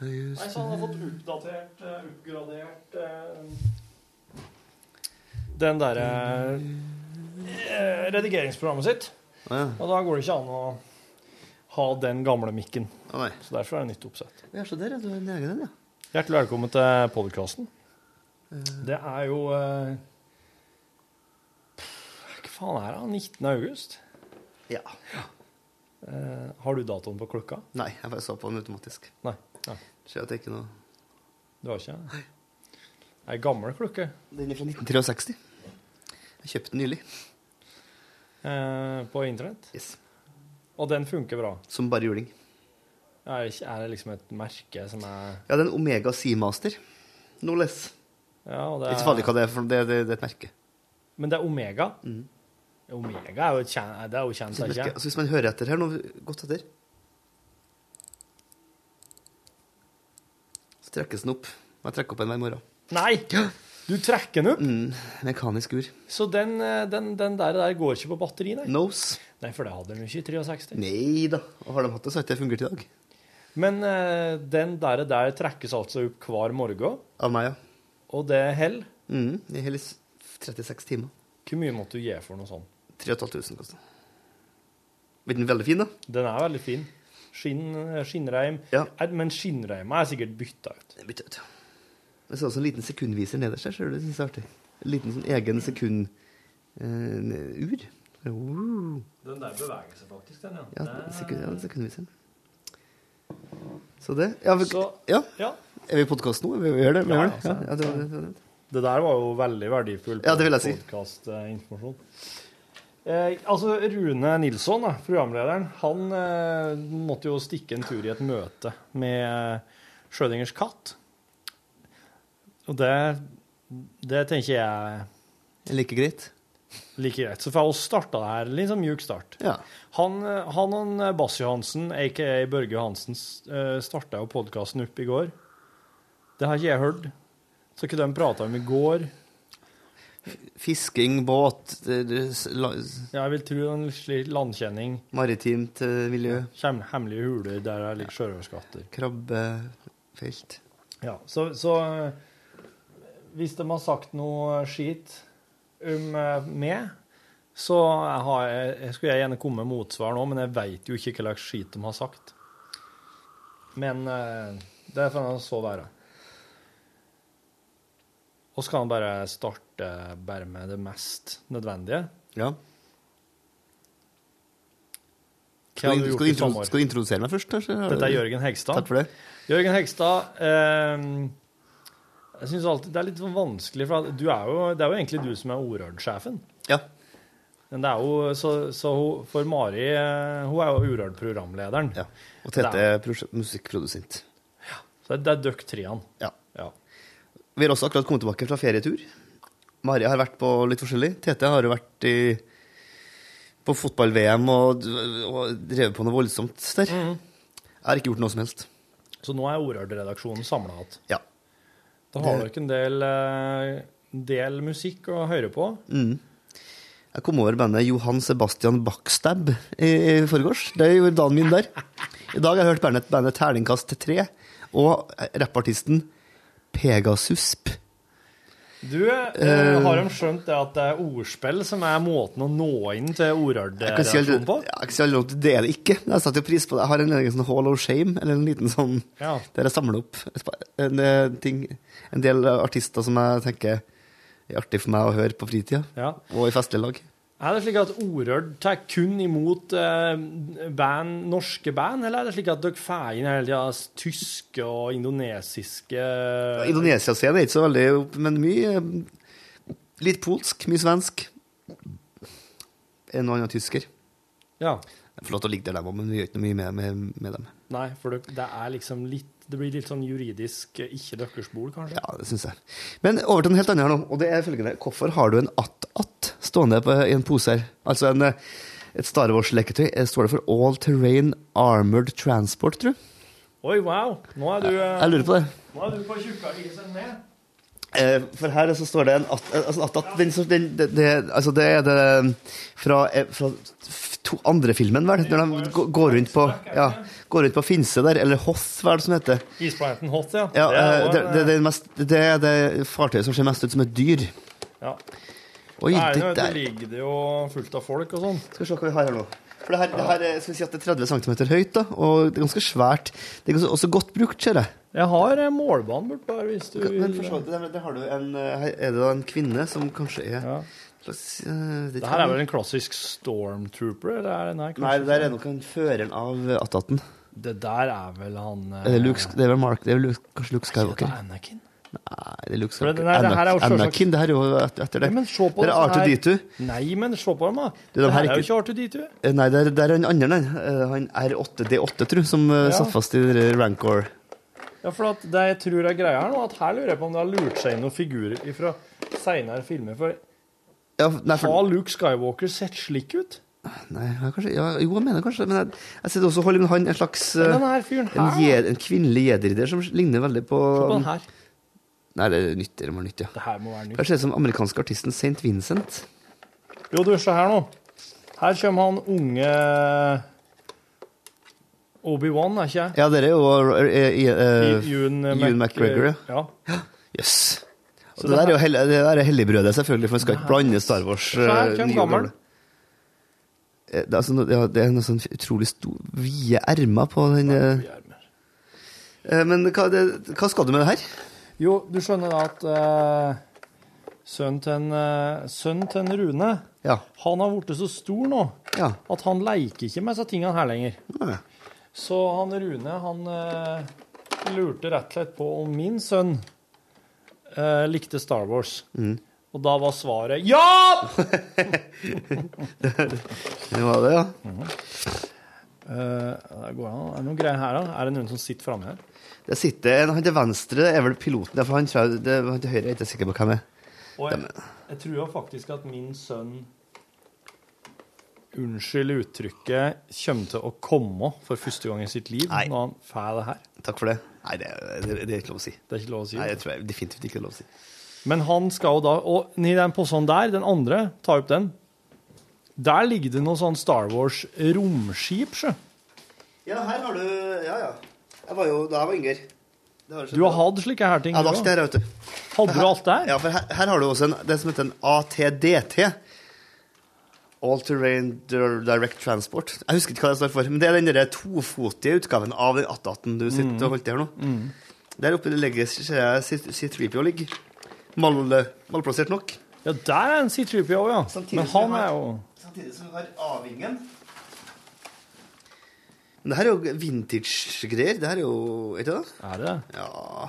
Speaker 3: Nei, så han har fått oppdatert, eh, oppgradert eh, Den derre eh, redigeringsprogrammet sitt.
Speaker 6: Å ja.
Speaker 3: Og da går det ikke an å ha den gamle mikken.
Speaker 6: Å nei.
Speaker 3: Så derfor er det nytt oppsett.
Speaker 6: Ja, så der, ja. Du er din egen, ja.
Speaker 3: Hjertelig velkommen til podkasten. Det er jo eh, pff, Hva faen er det? 19. august?
Speaker 6: Ja.
Speaker 3: Eh, Har du datoen på klokka?
Speaker 6: Nei, jeg bare så på den automatisk.
Speaker 3: Nei. nei
Speaker 6: Ser at det ikke er noe
Speaker 3: du har ikke det? Det er ei gammel klokke.
Speaker 6: Den er fra 1963. Jeg kjøpte den nylig.
Speaker 3: eh, på internett.
Speaker 6: Yes.
Speaker 3: Og den funker bra.
Speaker 6: Som bare juling.
Speaker 3: Er det, ikke, er det liksom et merke som er
Speaker 6: Ja, det er en Omega Seamaster. No less.
Speaker 3: ja, og det
Speaker 6: Ikke så
Speaker 3: er,
Speaker 6: farlig hva det er, for det, det, det er et merke.
Speaker 3: Men det er Omega. Omega er jo et kjen- det er jo kjent,
Speaker 6: Så,
Speaker 3: er det
Speaker 6: merke.
Speaker 3: ikke?
Speaker 6: Altså, hvis man hører etter her nå, godt etter Så trekkes den opp. Jeg trekker opp en hver morgen.
Speaker 3: Nei! Du trekker den opp,
Speaker 6: Mm, mekanisk ur.
Speaker 3: så den, eh, den, den der, der går ikke på batteri, nei.
Speaker 6: Nose.
Speaker 3: Nei, for det hadde den jo ikke i 63.
Speaker 6: Nei da. Og har de hatt det, så har ikke det fungert i dag.
Speaker 3: Men eh, den der, der trekkes altså opp hver morgen,
Speaker 6: Av meg, ja.
Speaker 3: og det holder.
Speaker 6: Mm, I hele s- 36 timer.
Speaker 3: Hvor mye måtte du gi for noe sånt?
Speaker 6: 3500 koster den. Blir den veldig fin, da?
Speaker 3: Den er veldig fin. Skinn, eh, skinnreim.
Speaker 6: Ja.
Speaker 3: Er- Men skinnreima er sikkert bytta ut.
Speaker 6: Den bytter jeg ut. Jeg ser også en liten sekundviser nederst her, ser du. Det synes jeg er artig. En liten sånn egen sekund... eh, ur. Uh,
Speaker 3: Den der beveger seg faktisk, den,
Speaker 6: ja, sekund, ja, sekundviseren. Så det Ja, vi,
Speaker 3: Så-
Speaker 6: ja.
Speaker 3: Ja.
Speaker 6: er vi i podkast nå? Vi, vi gjør det? Vi
Speaker 3: Ja,
Speaker 6: gjør det.
Speaker 3: ja,
Speaker 9: altså.
Speaker 6: Ja, ja, det, var det, det, var det.
Speaker 3: Det der var jo veldig verdifull
Speaker 6: Ja, det vil jeg si.
Speaker 3: podcastinformasjon. Eh, altså, Rune Nilsson, da, programlederen, han eh, måtte jo stikke en tur i et møte med eh, Schrødingers katt. Og det, det tenker jeg
Speaker 6: Er Like greit?
Speaker 3: like greit. Så for oss starta det her litt sånn mjuk start.
Speaker 6: Ja.
Speaker 3: Han, han og en Bass Johansen, aka Børge Johansen, starta jo podkasten opp i går. Det har ikke jeg hørt. Så ikke de prata om i går.
Speaker 6: Fisking, båt, det- det- s- la- s-
Speaker 3: Jeg vil tro en slik landkjenning.
Speaker 6: maritimt eh, miljø,
Speaker 3: Kjem, hemmelige huler der det ligger sjørøverskatter.
Speaker 6: krabbefelt
Speaker 3: Ja, så, så eh, hvis de har sagt noe skit om eh, meg, så har jeg, jeg skulle jeg gjerne komme med motsvar nå, men jeg veit jo ikke hva slags skit de har sagt. Men eh, det får han så være. Og så kan han bare starte bare med det mest nødvendige.
Speaker 6: Ja. Skal
Speaker 3: Hva har
Speaker 6: du, skal,
Speaker 3: du gjort
Speaker 6: du
Speaker 3: i
Speaker 6: intro,
Speaker 3: sommer?
Speaker 6: skal du introdusere meg først? Kanskje?
Speaker 3: Dette er Jørgen Hegstad.
Speaker 6: Takk for det.
Speaker 3: Jørgen Hegstad, eh, jeg synes alltid det er litt sånn vanskelig, for at du er jo, det er jo egentlig du som er Orørd-sjefen.
Speaker 6: Ja.
Speaker 3: Men det er jo, så, så hun- for Mari, eh, hun er jo Orørd-programlederen.
Speaker 6: ja. Og Tete
Speaker 3: Det
Speaker 6: er prosje- musikkprodusent.
Speaker 3: Så det, det er døkk treene.
Speaker 6: Ja.
Speaker 3: Ja.
Speaker 6: Vi har også akkurat kommet tilbake fra ferietur. Maria har vært på litt forskjellig. Tete har jo vært i, på fotball-VM og, og drevet på noe voldsomt der. Jeg har ikke gjort noe som helst.
Speaker 3: Mm. Så nå er Orørd-redaksjonen samlet igjen.
Speaker 6: Ja.
Speaker 3: Da har
Speaker 6: Det-
Speaker 3: dere en del, eh, en del musikk å høre på.
Speaker 6: Jeg kom over bandet Johan Sebastian Backstab i, i forgårs. Det gjorde dagen min der. I dag har jeg hørt bandet, bandet Terningkast 3 og rappartisten Pegasusp.
Speaker 3: Du, eh, har de skjønt det at det er ordspill som er måten å nå inn
Speaker 6: Jeg kan
Speaker 3: til
Speaker 6: si aldri,
Speaker 3: Orørd-redaksjonen på?
Speaker 6: jeg kan si aldri at det er det ikke, men jeg setter jo pris på det. Jeg har en egen sånn hall of shame, eller en liten sånn
Speaker 3: Ja.
Speaker 6: der jeg samler opp et par- en, eh, ting, en del artister som jeg tenker er artig for meg å høre på fritida,
Speaker 3: Ja.
Speaker 6: og i festlig lag.
Speaker 3: Er det slik at Orørd tar kun imot eh, band, norske band, eller er det slik at dere får inn hele tida tyske og indonesiske
Speaker 6: Indonesia-scenen er ikke så veldig opp, men mye eh, Litt polsk, mye svensk. En og annen tysker.
Speaker 3: Ja.
Speaker 6: Det er Flott å ligge der, dem òg, men vi gjør ikke noe mye med, med, med dem.
Speaker 3: Nei, for dere, det er liksom litt Det blir litt sånn juridisk eh, ikke deres bol, kanskje?
Speaker 6: Ja, det syns jeg. Men over til en helt annen her nå, og det er følgende. Hvorfor har du en att-att stående på, i en pose her? Altså en, eh, et Star Wars-leketøy. Eh, Står det for All Terrain Armored Transport, tror du?
Speaker 3: Oi, wow! Nå er du eh,
Speaker 6: Jeg lurer på det.
Speaker 3: Nå er du på tjukkagisen ned.
Speaker 6: Eh, For her så står det en att, eh, altså en att-att den, som- den, det, det, altså det er det fra, eh, fra f- to andre filmen, vel? Når de gå- går rundt på, ja, går rundt på Finse der, eller Hoth, hva er det som heter?
Speaker 3: Isplanten Hot, ja.
Speaker 6: Ja,
Speaker 3: er
Speaker 6: eh,
Speaker 3: jo en,
Speaker 6: det, det, det, er mest, det er det fartøyet som ser mest ut som et dyr.
Speaker 3: eh, ja.
Speaker 6: Oi,
Speaker 3: Der,
Speaker 6: det
Speaker 3: det
Speaker 6: der
Speaker 3: ligger det jo fullt av folk og sånn.
Speaker 6: Skal vi se hva vi har her nå. For det her, det her er, skal vi si at det er 30 cm høyt, da, og det er ganske svært. Det er ganske- også godt brukt, ser jeg.
Speaker 3: Jeg har eh, målbanen bort der, hvis du
Speaker 6: Men for
Speaker 3: vil.
Speaker 6: så vidt, der, der har du en, eh, her er det da en kvinne som kanskje er
Speaker 3: Ja.
Speaker 6: slags, eh, det
Speaker 3: Det her er vel en klassisk stormtrooper? Eller er det, nei, kanskje
Speaker 6: Nei, det der er
Speaker 3: ikke.
Speaker 6: nok en føreren av eh, Ataten.
Speaker 3: Det der er vel han eh,
Speaker 6: Er det Luke, Sk- det er vel Mark, det er vel Luke, kanskje Luke
Speaker 3: Skywalker?
Speaker 6: Skywalker?
Speaker 3: Anakin?
Speaker 6: Nei, det er Luke
Speaker 3: For det-
Speaker 6: Skywalker.
Speaker 3: nei, det her er jo
Speaker 6: Ana-
Speaker 3: selvsagt-
Speaker 6: Anakin, det her er jo et- etter det.
Speaker 3: Nei, men se på
Speaker 6: det er
Speaker 3: det her.
Speaker 6: R2D2.
Speaker 3: Nei, men se på dem,
Speaker 6: Du,
Speaker 3: da.
Speaker 6: de
Speaker 3: Det
Speaker 6: her
Speaker 3: her er
Speaker 6: ikke-
Speaker 3: jo ikke R2D2.
Speaker 6: Eh, Nei, det er, det er en annen, nei. Eh, han R8D8, tror jeg, som eh, satt fast i det der Rancor.
Speaker 3: Ja, for at det jeg tror er greia her nå, at her lurer jeg på om det har lurt seg inn noen figurer fra seinere filmer. For
Speaker 6: Ja, nei, for...
Speaker 3: har Luke Skywalker sett slik ut?
Speaker 6: Nei, ja, kanskje, ja, jo, jeg mener kanskje Men jeg, jeg ser det også holder med han en slags eh,
Speaker 3: Denne her fyren
Speaker 6: en,
Speaker 3: her.
Speaker 6: jed, en kvinnelig jedridder som ligner veldig på
Speaker 3: Se på den her.
Speaker 6: Nei, det er nytt, det må være nytt, ja.
Speaker 3: Det her må være nytt.
Speaker 6: Det ser ut som amerikanske artisten St. Vincent.
Speaker 3: Jo, du, se her nå. Her kommer han unge Obi-Wan, er ikke jeg?
Speaker 6: Ja, dere er jo eh, eh, eh,
Speaker 3: Ewan
Speaker 6: Ewan McGregor, ja.
Speaker 3: ja.
Speaker 6: Jøss. Og Det der er jo hell, det der er helligbrødet, selvfølgelig, for man skal ikke blande Star Wars.
Speaker 3: Så
Speaker 6: eh,
Speaker 3: her kommer
Speaker 6: nye og
Speaker 3: gammel.
Speaker 6: gamle. Eh, Det er, altså, noe- ja, det er noe sånn utrolig stor, vide ermer på den eh, eh, Men hva, det, hva skal du med det her?
Speaker 3: Jo, du skjønner da at eh, sønnen til en, eh, sønnen til en Rune,
Speaker 6: Ja.
Speaker 3: han har blitt så stor nå
Speaker 6: ja.
Speaker 3: at han leker ikke med disse tingene her lenger.
Speaker 6: Nei.
Speaker 3: Så han Rune, han eh, lurte rett og slett på om min sønn eh, likte Star Wars.
Speaker 6: Mm.
Speaker 3: Og da var svaret ja!
Speaker 6: Det var det, ja.
Speaker 3: Mm-hmm. Eh, der går han. Er det noen greier her, da? Er det noen som sitter framme her?
Speaker 6: Der sitter en, han til venstre er vel piloten, ja, for han, tror jeg- det, han til høyre er jeg ikke sikker på hvem er.
Speaker 3: Og jeg, jeg tror jo faktisk at min sønn Unnskyld uttrykket kommer til å komme for første gang i sitt liv
Speaker 6: Nei.
Speaker 3: når han får det her.
Speaker 6: Takk for det. Nei, det, det, det er ikke lov å si.
Speaker 3: Det er ikke lov å si.
Speaker 6: Nei, det tror jeg definitivt ikke er lov å si.
Speaker 3: Men han skal jo da Og i den posen der, den andre, ta opp den. Der ligger det noe sånn Star Wars-romskip, sjø.
Speaker 6: Ja, her har du Ja, ja. Jeg var jo da jeg var yngre. Det har
Speaker 3: Du har hatt slike her ting.
Speaker 6: Ja,
Speaker 3: du
Speaker 6: da
Speaker 3: også.
Speaker 6: skal jeg vet du.
Speaker 3: Hadde du alt der?
Speaker 6: Ja, for her, her har du også en, det som heter en ATDT. All Terrain Dir- Direct Transport. Jeg husker ikke hva det står for, men det er den der tofotige utgaven av den 1818 du sitter og holdt i her nå. Der oppe det ligger ser jeg C3PO ligger. Mal, eh, malplassert nok.
Speaker 3: Ja, der er en C3PO, ja.
Speaker 6: Samtidig
Speaker 3: Men
Speaker 6: som jeg
Speaker 3: han er
Speaker 6: har-
Speaker 3: jo
Speaker 6: Samtidig som vi har A-vingen. Men det her er jo vintage-greier. Det her er jo Er ikke det?
Speaker 3: Er det det?
Speaker 6: Ja.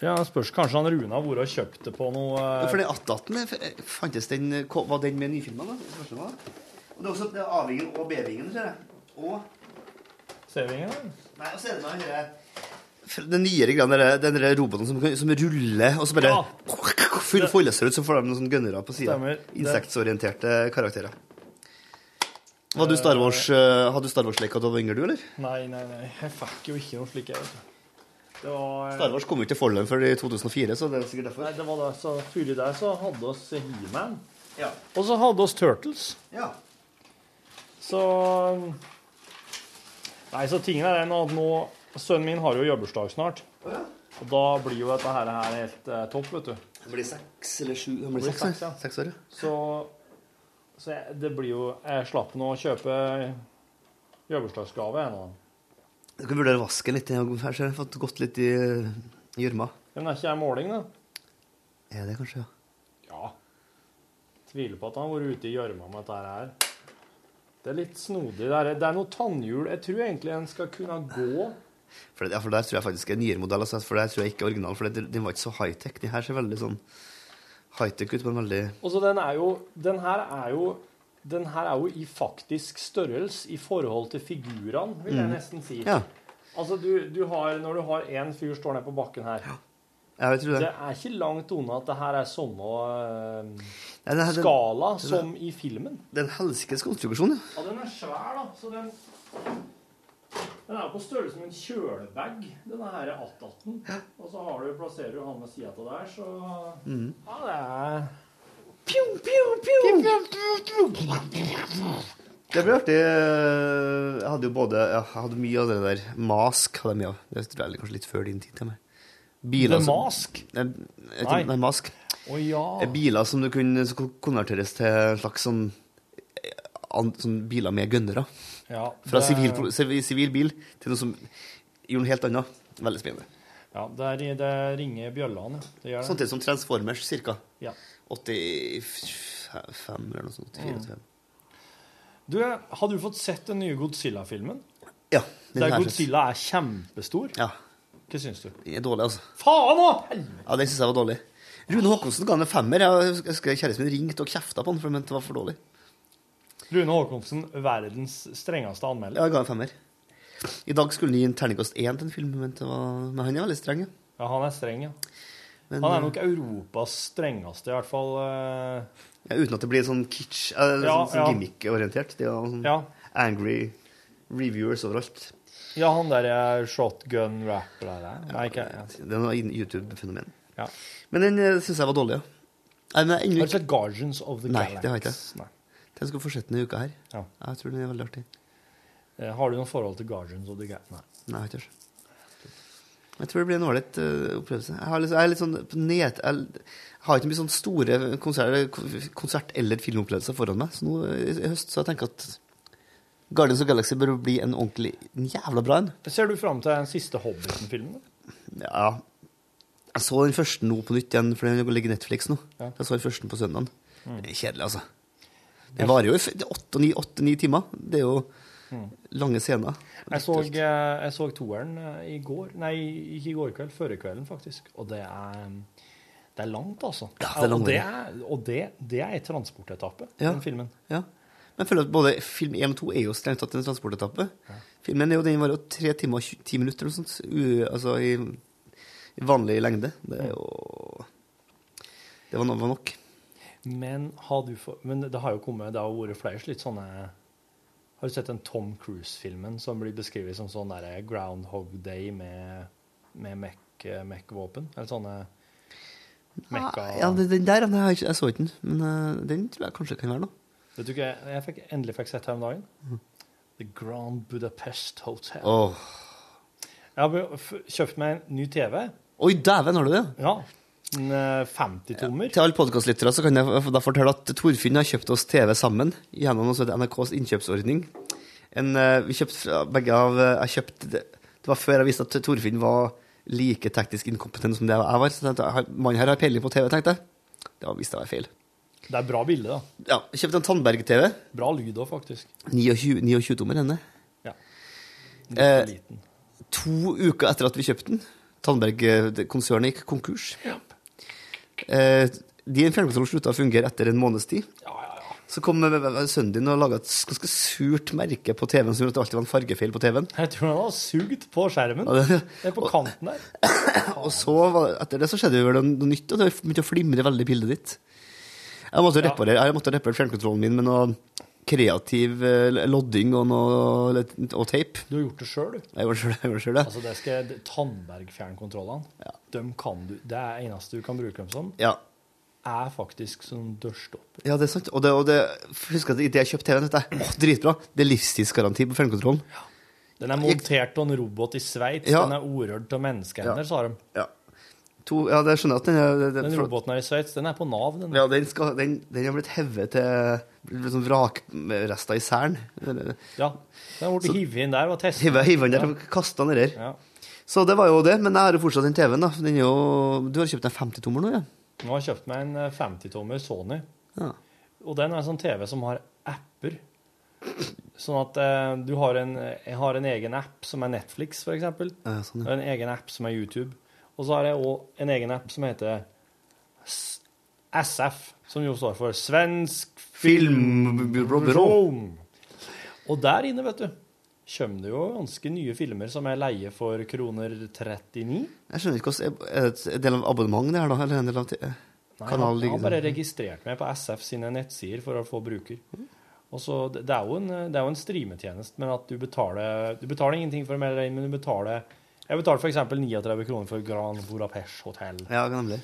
Speaker 3: Ja, spørs kanskje han Rune har vært og kjøpt det på noe
Speaker 6: Ja,
Speaker 3: eh,
Speaker 6: For den 18 eh, fantes den eh, ko- Var den med nyfilmen, da? Det spørs det hva. Og det er også det er A-vingen og B-vingen, ser jeg. Og
Speaker 3: Sevingen, eller?
Speaker 6: Nei, og så er det den her f- Den nyere greia, den der- den der roboten som, kan- som ruller, og så bare
Speaker 3: Ja.
Speaker 6: full folder seg ut, så får de noen sånne gønnere på sida.
Speaker 3: Stemmer. Det-
Speaker 6: Insektsorienterte karakterer. Var du Star Wars, eh, hadde du Star Wars-leka da du var yngre, du, eller?
Speaker 3: Nei, nei, nei. Jeg fikk jo ikke noe slik, jeg. vet du. Det var, eh,
Speaker 6: Star Wars kom jo ikke til Forland før i 2004, så det er sikkert
Speaker 3: nei,
Speaker 6: derfor.
Speaker 3: det var da så Fyri der så hadde oss He-Man.
Speaker 6: Ja.
Speaker 3: Og så hadde oss Turtles.
Speaker 6: ja.
Speaker 3: Så eh, Nei, så tingen er den at nå Sønnen min har jo jobbursdag snart. Og da blir jo dette her, her helt eh, topp, vet du.
Speaker 6: Han blir seks eller sju Han blir
Speaker 3: blir
Speaker 6: seks,
Speaker 3: seks,
Speaker 6: ja.
Speaker 3: ja.
Speaker 6: Seks år, ja.
Speaker 3: Så, så jeg, det blir jo Jeg slapp nå å kjøpe jobbursdagsgave ennå.
Speaker 6: Du kan vurdere vasken litt. Jeg har jeg fått gått litt i eh, gjørma.
Speaker 3: Men er ikke jeg måling, da?
Speaker 6: Er det kanskje, ja.
Speaker 3: Ja. Tviler på at han har vært ute i gjørma med dette her. Det er litt snodig. Det er, det er noe tannhjul. Jeg tror egentlig en skal kunne gå.
Speaker 6: For, det- ja, for der tror jeg faktisk er nyere modell. Altså, for der tror jeg ikke er original, for det- den var ikke så high-tech. Den her ser veldig sånn high-tech ut, men veldig
Speaker 3: Og så den er jo Den her er jo den her er jo i faktisk størrelse i forhold til figurene, vil jeg
Speaker 6: Mm.
Speaker 3: nesten si.
Speaker 6: Ja.
Speaker 3: Altså, du, du har, når du har én fyr står ned på bakken her
Speaker 6: Jeg vet ikke det.
Speaker 3: Det er ikke langt unna at det her er samme eh,
Speaker 6: Nei, det her- den-
Speaker 3: skala
Speaker 6: det-
Speaker 3: som i filmen.
Speaker 6: Det er en helsikes konstruksjon, ja.
Speaker 3: Ja, den er svær, da. Så den Den er jo på størrelse med en kjølebag, denne her 1818. Og så har du, plasserer du han ved sida av der, så
Speaker 6: Mhm.
Speaker 3: Ja, det er
Speaker 6: Det blir artig. Jeg hadde jo både ja, Jeg hadde mye av det der. Mask hadde jeg mye av. Det tror jeg er kanskje litt før din tid. til meg.
Speaker 3: The
Speaker 6: som-
Speaker 3: Mask?
Speaker 6: Nei, jeg tror-
Speaker 3: Nei.
Speaker 6: nei, Mask.
Speaker 3: Å ja.
Speaker 6: Eh, Biler som du kunne som kunne konverteres til en slags sånn eh, an- Sånn biler med gønnere.
Speaker 3: Ja,
Speaker 6: Fra
Speaker 3: det-
Speaker 6: sivil pro- siv- sivil bil til noe som gjorde noe helt annet. Veldig spennende.
Speaker 3: Ja, det, er, det ringer bjøllene, ja. Det gjør det.
Speaker 6: Samtidig som Transformers, ca.
Speaker 3: Ja.
Speaker 6: 85 eller noe sånt. 84.
Speaker 3: Mm. Du, har du fått sett den nye Godzilla-filmen?
Speaker 6: Ja. den
Speaker 3: Der
Speaker 6: her-
Speaker 3: Godzilla er kjempestor?
Speaker 6: Ja.
Speaker 3: Hva syns du?
Speaker 6: Den er dårlig, altså.
Speaker 3: Faen òg!
Speaker 6: Ja, den syns jeg var dårlig. Rune Håkonsen ga den en femmer. Jeg husker Kjæresten min ringte og kjefta på han, for han mente det var for dårlig.
Speaker 3: Rune Håkonsen, verdens strengeste anmelder.
Speaker 6: Ja, jeg ga en femmer. I dag skulle han gi en terningkast én til en film, men, det var... men han er veldig streng. Ja.
Speaker 3: Ja, han er streng, ja.
Speaker 6: Men, eh,
Speaker 3: Han er nok Europas strengeste, i hvert fall. eh,
Speaker 6: ja, uten at det blir sånn kitsch, eh, sånn,
Speaker 3: Ja,
Speaker 6: sånn
Speaker 3: ja.
Speaker 6: gimmick-orientert. Det er jo sånn
Speaker 3: Ja.
Speaker 6: angry reviewers overalt.
Speaker 3: Ja, han der er shotgun rapper der. eh. Nei, ikke ja.
Speaker 6: Det er noe inn- YouTube-fenomen.
Speaker 3: Ja.
Speaker 6: Men den eh, syns jeg var dårlig, ja. Nei, men jeg,
Speaker 3: Har
Speaker 6: ennå
Speaker 3: du
Speaker 6: ikke-
Speaker 3: sett Guardians of the
Speaker 6: Nei,
Speaker 3: Galaxy?
Speaker 6: det har jeg ikke.
Speaker 3: Nei.
Speaker 6: Den skal fortsette denne uka her.
Speaker 3: Ja.
Speaker 6: Jeg tror den er veldig artig.
Speaker 3: Eh, Har du noe forhold til Guardians of the Galaxy? Nei.
Speaker 6: Nei, jeg tør ikke. Jeg tror det blir en ålreit eh, opplevelse. Jeg, har litt, jeg er litt sånn på ned... Jeg, jeg har ikke mye sånn store konsert, konsert- eller filmopplevelser foran meg. Så nå i i høst så jeg tenker at Guardians of the Galaxy bør bli en ordentlig en jævla bra en.
Speaker 3: Ser du fram til den siste Hobbiten-filmen?
Speaker 6: Ja. Jeg så den første nå på nytt igjen, for den ligger i Netflix nå.
Speaker 3: Ja.
Speaker 6: Jeg så den første på søndagen. Det er kjedelig, altså.
Speaker 3: Jeg-
Speaker 6: Den varer jo i f- det er åtte, ni, åtte, ni timer. Det er jo lange scener.
Speaker 3: Jeg så, eh, jeg så toeren eh, i går. Nei, ikke i går kveld. Førre kvelden, faktisk. Og det er det er langt, altså.
Speaker 6: Ja, det er
Speaker 3: og
Speaker 6: langt.
Speaker 3: det er, og det, det er en transportetappe,
Speaker 6: Ja.
Speaker 3: den filmen.
Speaker 6: Ja. Men jeg føler at både film 1 og 2 er jo strengt tatt en transportetappe. Filmen er jo, den var jo tre timer og 20 ti minutter eller noe sånt, u, altså i, i vanlig lengde. Det er jo Det var, no, var nok.
Speaker 3: Men, har du få- men det har jo kommet Det har jo vært flere litt sånne Har du sett den Tom Cruise-filmen som blir beskrevet som sånn der Groundhog Day med, med mech- mech-våpen? Eller sånne mekka...
Speaker 6: Ja, ja, den der den har jeg, ikke- jeg så ikke den, men eh, den tror jeg kanskje kan være noe. Mm.
Speaker 3: Vet du hva jeg, jeg fikk, endelig fikk sett her om dagen? The Grand Budapest Hotel.
Speaker 6: Åh.
Speaker 3: Jeg har be- f- kjøpt meg en ny TV.
Speaker 6: Oi, dæven, har du det?
Speaker 3: Ja. En eh, 50-tommer.
Speaker 6: Til alle podkastlyttere så kan jeg f- da fortelle at Torfinn har kjøpt oss TV sammen gjennom noe som heter NRKs innkjøpsordning. En, eh, vi kjøpte fra begge av eh, Jeg kjøpte det, det var før jeg visste at Torfinn var like teknisk inkompetent som det jeg var. Så tenkte jeg, "Han- mannen her har peiling på TV, tenkte jeg. Det var visst det var feil.
Speaker 3: Det er bra bilde, da.
Speaker 6: Ja, jeg kjøpte en Tandberg-TV.
Speaker 3: Bra lyd òg, faktisk.
Speaker 6: 29 29-tommer denne.
Speaker 3: Ja.
Speaker 6: Eh,
Speaker 3: Liten.
Speaker 6: to uker etter at vi kjøpte den. Tandberg-konsernet gikk konkurs. Eh, de fjernkontrollene slutta å fungere etter en måneds tid. Så kom eh, eh, sønnen din og laga et s- ganske surt merke på TV-en som gjorde at det alltid var en fargefeil på TV-en.
Speaker 3: Jeg tror han har sugd på skjermen.
Speaker 6: Ja, det-
Speaker 3: Det er på kanten der.
Speaker 6: Og så var, etter det så skjedde det vel noe nytt, og det begynte å flimre veldig i bildet ditt. Jeg måtte
Speaker 3: Ja.
Speaker 6: reparere, jeg måtte reparere fjernkontrollen min med noe kreativ eh, lodding og, noe, og tape.
Speaker 3: Du har gjort det sjøl, du.
Speaker 6: Jeg gjorde det sjøl, jeg.
Speaker 3: Altså, det skal det- Tandberg-fjernkontrollene. Dem kan du. Det er eneste du kan bruke dem som,
Speaker 6: Ja.
Speaker 3: er faktisk som dørstopper.
Speaker 6: Ja, det er sant. Og det, og det husker at idet jeg kjøpte TV-en, tenkte jeg åh, dritbra, det er livstidsgaranti på fjernkontrollen.
Speaker 3: Den er montert av en robot i Sveits.
Speaker 6: Ja.
Speaker 3: Den er orørt av menneskehender,
Speaker 6: Ja.
Speaker 3: sa de.
Speaker 6: Ja. To, ja, det skjønner jeg at den er det- det-
Speaker 3: Den
Speaker 6: for-
Speaker 3: roboten er i Sveits. Den er på Nav, den.
Speaker 6: Ja, den, skal, den, den har blitt hevet til blitt sånn vrakrester i Særen.
Speaker 3: Ja. Den ble hivet inn der og testet.
Speaker 6: Hive hive den der og kaste den der.
Speaker 3: Ja.
Speaker 6: Så det var jo det. Men jeg har jo fortsatt den TV-en, da. for Den er jo, du har kjøpt en 50-tommer nå, ja?
Speaker 3: Nå har jeg kjøpt meg en eh, 50-tommer Sony.
Speaker 6: ja.
Speaker 3: Og den er en sånn TV som har apper. Sånn at eh, du har en, jeg har en egen app som er Netflix, for eksempel.
Speaker 5: Ja, sånn,
Speaker 3: Og en egen app som er YouTube. Og så har jeg òg en egen app som heter S- SF, som jo står for Svensk
Speaker 5: Filmbyrå.
Speaker 3: Film. Og der inne, vet du, kommer det jo ganske nye filmer som jeg leier for kroner 39.
Speaker 5: Jeg skjønner ikke hvordan, Er det en del av abonnement det her, da? Eller en del av ti-
Speaker 3: Nei,
Speaker 5: kanal
Speaker 3: jeg har
Speaker 5: ligger
Speaker 3: bare
Speaker 5: der?
Speaker 3: registrert meg på SF sine nettsider for å få bruker. Og så, det det er jo en, det er jo en streametjeneste, men at du betaler, du betaler ingenting for å melde deg inn, men du betaler Jeg betaler f.eks. 39 kroner for Grand Budapest Hotel.
Speaker 5: Ja, nemlig.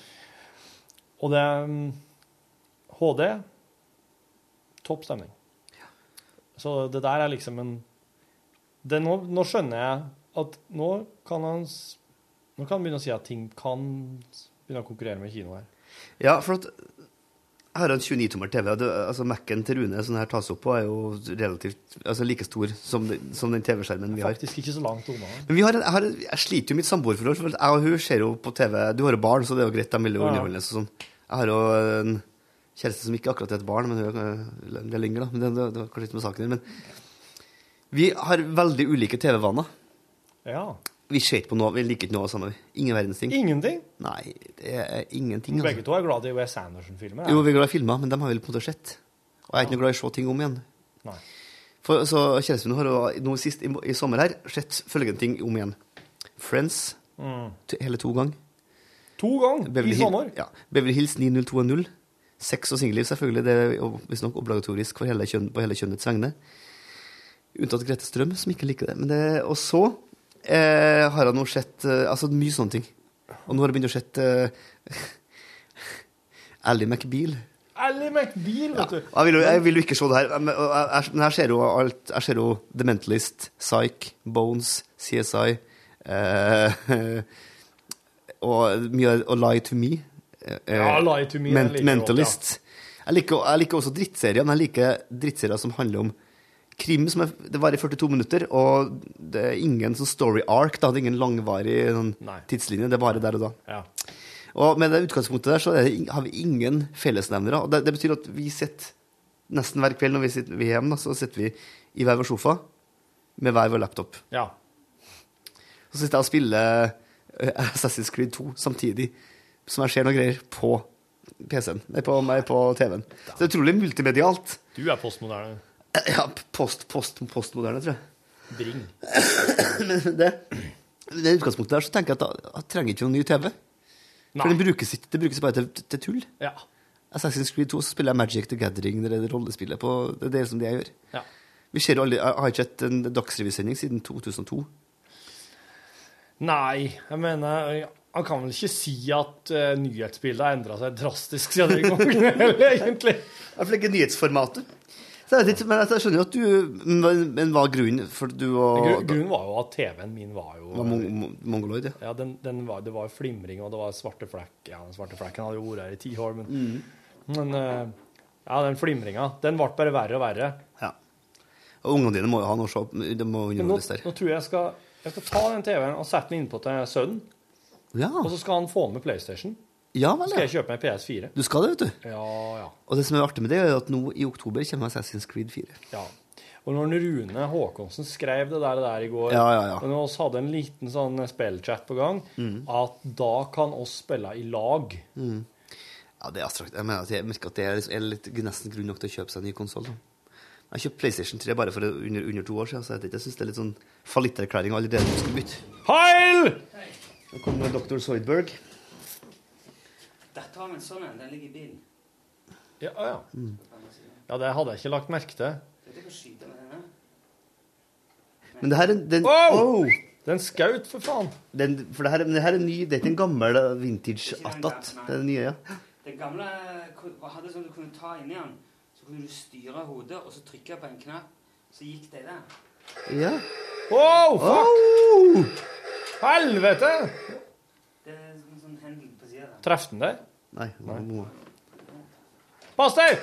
Speaker 3: Og det er mm, HD Topp stemning. Så det der er liksom en det nå, nå skjønner jeg at nå kan han s- Nå kan han begynne å si at ting kan s- begynne å konkurrere med kino her.
Speaker 5: Ja, for at jeg har en 29-tommer TV. og det- altså Mac-en til Rune som det her tas opp på, er jo relativt altså like stor som, den- som den TV-skjermen vi har.
Speaker 3: Faktisk ikke så langt unna.
Speaker 5: Men vi har en, jeg, har, jeg sliter jo i mitt samboerforhold. for Jeg og hun ser jo på TV Du har jo barn, så det er jo greit. De vil jo
Speaker 3: Ja.
Speaker 5: underholdes og sånn. Jeg har jo en kjæreste som ikke akkurat er et barn, men hun er en del yngre, da. Men det, det, det var kanskje litt med saken her. Men vi har veldig ulike TV-vaner.
Speaker 3: Ja.
Speaker 5: Vi ser ikke på noe, vi liker ikke noe av det samme. Ingen verdens ting.
Speaker 3: Ingenting.
Speaker 5: Nei, det er ingenting.
Speaker 3: Begge
Speaker 5: Altså.
Speaker 3: to er glad i Wes Anderson-filmer.
Speaker 5: Jo, vi er glad i filmer, men dem har vi på en måte sett. Og jeg er ikke noe glad i å se ting om igjen.
Speaker 3: Nei.
Speaker 5: For, så kjæresten min har jo nå sist i, i sommer her sett følgende ting om igjen. Friends
Speaker 3: Mm.
Speaker 5: t hele to ganger.
Speaker 3: To ganger
Speaker 5: Beverly,
Speaker 3: i
Speaker 5: Hill-
Speaker 3: sommer.
Speaker 5: ja, Beverly Hills 90210. Sex og singelliv, selvfølgelig. Det er jo visstnok obligatorisk for hele kjønn, på hele kjønnets vegne. Unntatt Grete Strøm, som ikke liker det. Men det og så eh, har han nå sett eh, altså mye sånne ting. Og nå har jeg begynt å sett eh, Ally McBeal.
Speaker 3: Ally McBeal, vet du.
Speaker 5: Og Jeg vil, jo, jeg vil jo ikke se det her, men og jeg, jeg, men jeg ser jo alt. Jeg ser jo The Mentalist, Psych, Bones, CSI eh, og, mye, av- og Lie to Me. eh,
Speaker 3: Ja, Lie to Me,
Speaker 5: Men,
Speaker 3: den liker jeg
Speaker 5: mentalist. Jeg liker, jeg liker også drittserier, men jeg liker drittserier som handler om krim. Som er, det varer i 42 minutter, og det er ingen sånn story arc. Da. Det er ingen langvarig sånn,
Speaker 3: Nei.
Speaker 5: tidslinje. Det er bare der og da.
Speaker 3: Ja.
Speaker 5: Og med det utgangspunktet der så er det, ing- har vi ingen fellesnevnere. Og det, det betyr at vi sitter nesten hver kveld når vi sitter vi er hjemme, da, så sitter vi i hver vår sofa med hver vår laptop.
Speaker 3: ja.
Speaker 5: Så sitter jeg og spiller eh, Assassin's Creed 2 samtidig som jeg ser noe greier på PC-en. Nei, på meg på TV-en. Så det er utrolig multimedialt.
Speaker 3: Du er postmoderne.
Speaker 5: Ja, post, post, postmoderne, tror jeg.
Speaker 3: Bring.
Speaker 5: Men det, det utgangspunktet der så tenker jeg at da, da trenger jeg ikke noen ny TV. For
Speaker 3: Nei.
Speaker 5: den brukes ikke, det brukes bare til, til tull.
Speaker 3: Ja.
Speaker 5: Assassin's Creed 2 så spiller jeg Magic the Gathering, det er det rollespillet på det er det som det jeg gjør.
Speaker 3: ja.
Speaker 5: Vi ser jo aldri, Jeg har ikke sett en dagsrevysending siden 2002.
Speaker 3: Nei, jeg mener ja, Han kan vel ikke si at eh, nyhetsbildet har endra seg drastisk siden den gangen, eller egentlig.
Speaker 5: Iallfall ikke nyhetsformatet. Så jeg, vet ikke, men jeg skjønner jo at du Men men hva er grunnen for du og
Speaker 3: Gru- Grunnen var jo at TV-en min var jo
Speaker 5: var mong mong- mongoloid, ja.
Speaker 3: ja, den, den var, Det var flimring, og det var svarte flekk. Ja, den svarte flekken hadde jo vært her i ti år, men,
Speaker 5: Mm.
Speaker 3: men eh, Ja, den flimringa. Den ble bare verre og verre.
Speaker 5: ja. Og ungene dine må jo ha noe å se på. Det må jo
Speaker 3: Men nå,
Speaker 5: underholdes der.
Speaker 3: nå tror jeg jeg skal, jeg skal ta den TV-en og sette den innpå til sønnen.
Speaker 5: Ja,
Speaker 3: Og så skal han få med PlayStation.
Speaker 5: ja
Speaker 3: Så
Speaker 5: vel,
Speaker 3: skal
Speaker 5: ja.
Speaker 3: jeg kjøpe meg PS4.
Speaker 5: Du skal det, vet du.
Speaker 3: Ja, ja.
Speaker 5: Og det som er artig med det, er jo at nå i oktober kommer Assassin's Creed 4.
Speaker 3: ja. Og når Rune Håkonsen skrev det der, der i går,
Speaker 5: Ja, ja, Mm. ja.
Speaker 3: og når vi hadde en liten sånn spillchat på gang, at da kan oss spille i lag.
Speaker 5: Ja, det er abstrakt. Jeg mener at jeg merker at det er, liksom, er litt, nesten grunn nok til å kjøpe seg en ny konsoll. Jeg kjøpte PlayStation 3 bare for under, under to år siden, så jeg, vet ikke, jeg syns det er litt sånn fallitterklæring allerede når du skal bytte.
Speaker 3: Heil!
Speaker 5: Nå kommer Dr. Zoidberg.
Speaker 11: Dette har vi en sånn en. Den ligger i bilen.
Speaker 3: Ja, ja.
Speaker 5: Mm.
Speaker 3: ja, det hadde jeg ikke lagt merke til.
Speaker 11: Dette kan skyte med denne.
Speaker 5: Men det her er den,
Speaker 3: Wow!
Speaker 5: Wow!
Speaker 3: Den skaut, for faen.
Speaker 5: den For det her, er- men det her er ny, det er ikke en gammel eh, vintage attat. Det er den nye, ja.
Speaker 11: Den gamle ku- hadde sånn du kunne ta inni den. Så kunne du styre hodet, og så trykke på en knapp. Så gikk det der.
Speaker 5: ja.
Speaker 3: Wow! Fuck!
Speaker 5: Oh!
Speaker 3: Helvete!
Speaker 11: Det er en sånn hendel på sida der.
Speaker 3: Treff den der.
Speaker 5: Nei, nå må-
Speaker 3: Pass deg!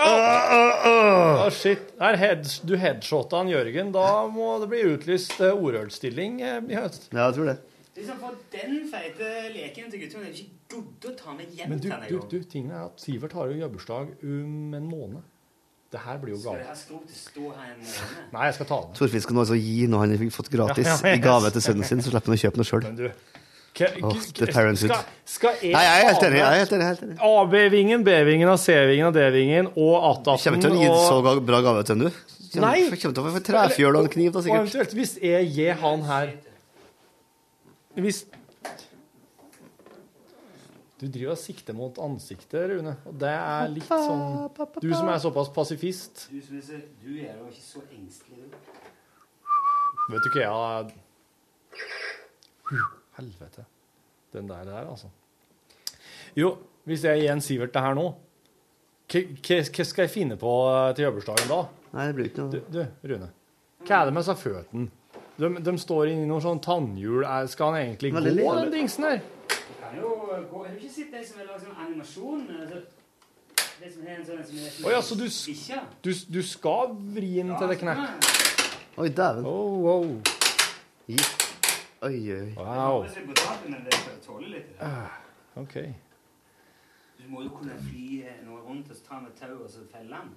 Speaker 3: Å, shit. Her head, du headshotta han Jørgen. Da må det bli utlyst eh, ordølstilling eh, i høst.
Speaker 5: ja, jeg tror det.
Speaker 2: Liksom For den feite leken til guttungen er det ikke godt å ta med hjem
Speaker 3: Men du,
Speaker 2: til han
Speaker 3: du,
Speaker 2: engang.
Speaker 3: du, tingen er at Sivert har jo jobbursdag om en måned. Det her blir jo
Speaker 2: Skal det
Speaker 3: gave.
Speaker 2: her skrotet stå her en måned?
Speaker 3: Nei, jeg skal ta den.
Speaker 5: Torfinn skal nå altså gi noe han fikk fått gratis
Speaker 3: Ja, ja, ja.
Speaker 5: i gave til sønnen sin, så slipper han å kjøpe noe sjøl. Åh, the parenthood.
Speaker 3: Skal, skal jeg
Speaker 5: Nei, jeg er helt enig. Jeg er
Speaker 3: ane
Speaker 5: helt enig, jeg er helt enig.
Speaker 3: AB-vingen, B-vingen og C-vingen og D-vingen og
Speaker 5: Du kommer
Speaker 3: A18
Speaker 5: ikke til å gi så
Speaker 3: og,
Speaker 5: ga- bra gave til han, du. Du Kommer,
Speaker 3: Nei.
Speaker 5: du kommer til å få en trefjøl og en kniv, da,
Speaker 3: og
Speaker 5: sikkert.
Speaker 3: eventuelt hvis jeg gir han her Hvis Du driver og sikter mot ansiktet, Rune, og det er litt sånn Du som er såpass pasifist
Speaker 2: Du, som er så- du er jo ikke så engstelig. du.
Speaker 3: Vet du ikke, jeg
Speaker 5: Hmm.
Speaker 3: Helvete. Den der der, altså. Jo, hvis jeg gir en Sivert det her nå, hva hva skal jeg finne på eh, til jobbursdagen da?
Speaker 5: Nei, det blir ikke
Speaker 3: Du,
Speaker 5: noe
Speaker 3: du Rune. Hva er det med disse føttene? De, de står inni noen sånn tannhjul. Er- Skal han egentlig
Speaker 5: Veldig
Speaker 3: gå, den
Speaker 5: lite.
Speaker 3: dingsen her?
Speaker 2: Du kan jo gå Har du ikke sett de som vil lage sånn animasjon? Altså, de som har en sånn som er
Speaker 3: Å ja, så du, s-
Speaker 2: Ikke?
Speaker 3: du, s- du skal vri den til det knekk?
Speaker 5: Oi, dæven.
Speaker 3: Oh, wow.
Speaker 5: Gi. Oi, oi.
Speaker 3: wow.
Speaker 2: Hvis du er på taket, men det skal tåle litt.
Speaker 3: OK.
Speaker 2: Du må jo kunne fly eh, noe rundt og så ta med tau og så felle den.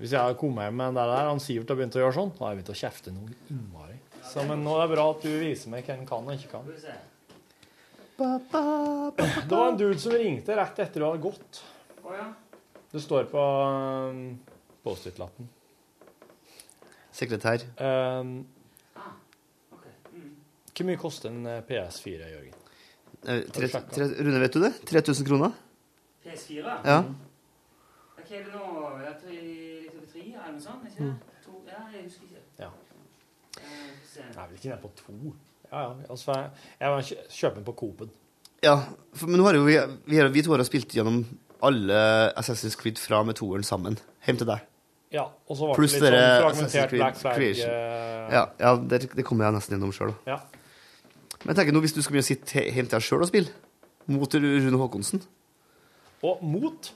Speaker 3: Hvis jeg hadde kommet hjem med den der, der, han Sivert har begynt å gjøre sånn, da har jeg begynt å kjefte noe innmari. Så, men nå er det bra at du viser meg hva en kan og ikke kan.
Speaker 2: Skal vi se.
Speaker 3: Det var en dude som ringte rett etter du hadde gått.
Speaker 2: Å ja.
Speaker 3: Det står på um, Post-It-lappen.
Speaker 5: Sekretær.
Speaker 3: Um,
Speaker 2: Ah, Ok. Mm.
Speaker 3: hvor mye koster en eh, PS4, Jørgen?
Speaker 5: Eh, Tre,
Speaker 3: sjekket?
Speaker 5: tre, Rune, vet du det? 3000 kroner?
Speaker 2: PS4?
Speaker 5: Ja.
Speaker 2: Ok, det er nå jeg tror jeg- litt over tre eller noe sånt? ikke det? To, ja, jeg husker ikke.
Speaker 3: Ja.
Speaker 2: Eh, skal vi se.
Speaker 3: Jeg er vel ikke nede på to? Ja, ja. Altså, jeg, jeg må kjø- kjøpe den på Coop-en.
Speaker 5: Ja, for, men nå har jo vi, vi, har, vi to har jo spilt gjennom alle Assassin's Creed fra med toeren sammen. Hjem til deg.
Speaker 3: Ja, og så var
Speaker 5: Pluss
Speaker 3: det litt sånn
Speaker 5: dere Assassin's
Speaker 3: fragmentert
Speaker 5: Creed
Speaker 3: Black Flag.
Speaker 5: Creation.
Speaker 3: eh,
Speaker 5: Ja, ja det, det kommer jeg nesten gjennom sjøl.
Speaker 3: ja.
Speaker 5: Men jeg tenker nå, hvis du skal begynne å sitte he- hjemme til deg sjøl og spille, mot Rune Håkonsen
Speaker 3: Og mot.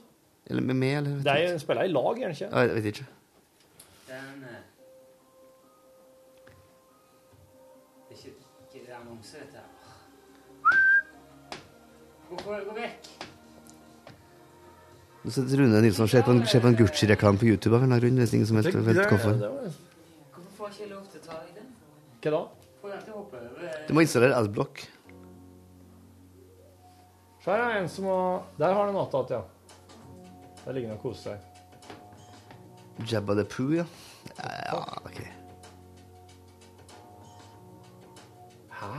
Speaker 5: Eller med meg, eller
Speaker 3: De
Speaker 5: vet ikke.
Speaker 3: spiller i lag, gjør de ikke?
Speaker 5: Ja, Jeg vet ikke.
Speaker 2: Den eh, Det er ikke, ikke det er annonse, dette her. Gå, gå, gå vekk.
Speaker 5: Nå sitter Rune Nilsson og ser på en, ser på en Gucci-reklame på YouTube av en eller annen grunn. Vet ingen som helt vet hvorfor.
Speaker 3: Det var-
Speaker 2: Hvorfor får jeg ikke lov til å ta deg den?
Speaker 3: Hva da?
Speaker 2: Får jeg ikke hoppe over eh?
Speaker 5: Du må installere Adblock.
Speaker 3: Så her er en som har Der har den nattatt, ja. Der ligger den og koser seg.
Speaker 5: Jabba the Poo, ja. Ja, ja, ok.
Speaker 3: Hæ?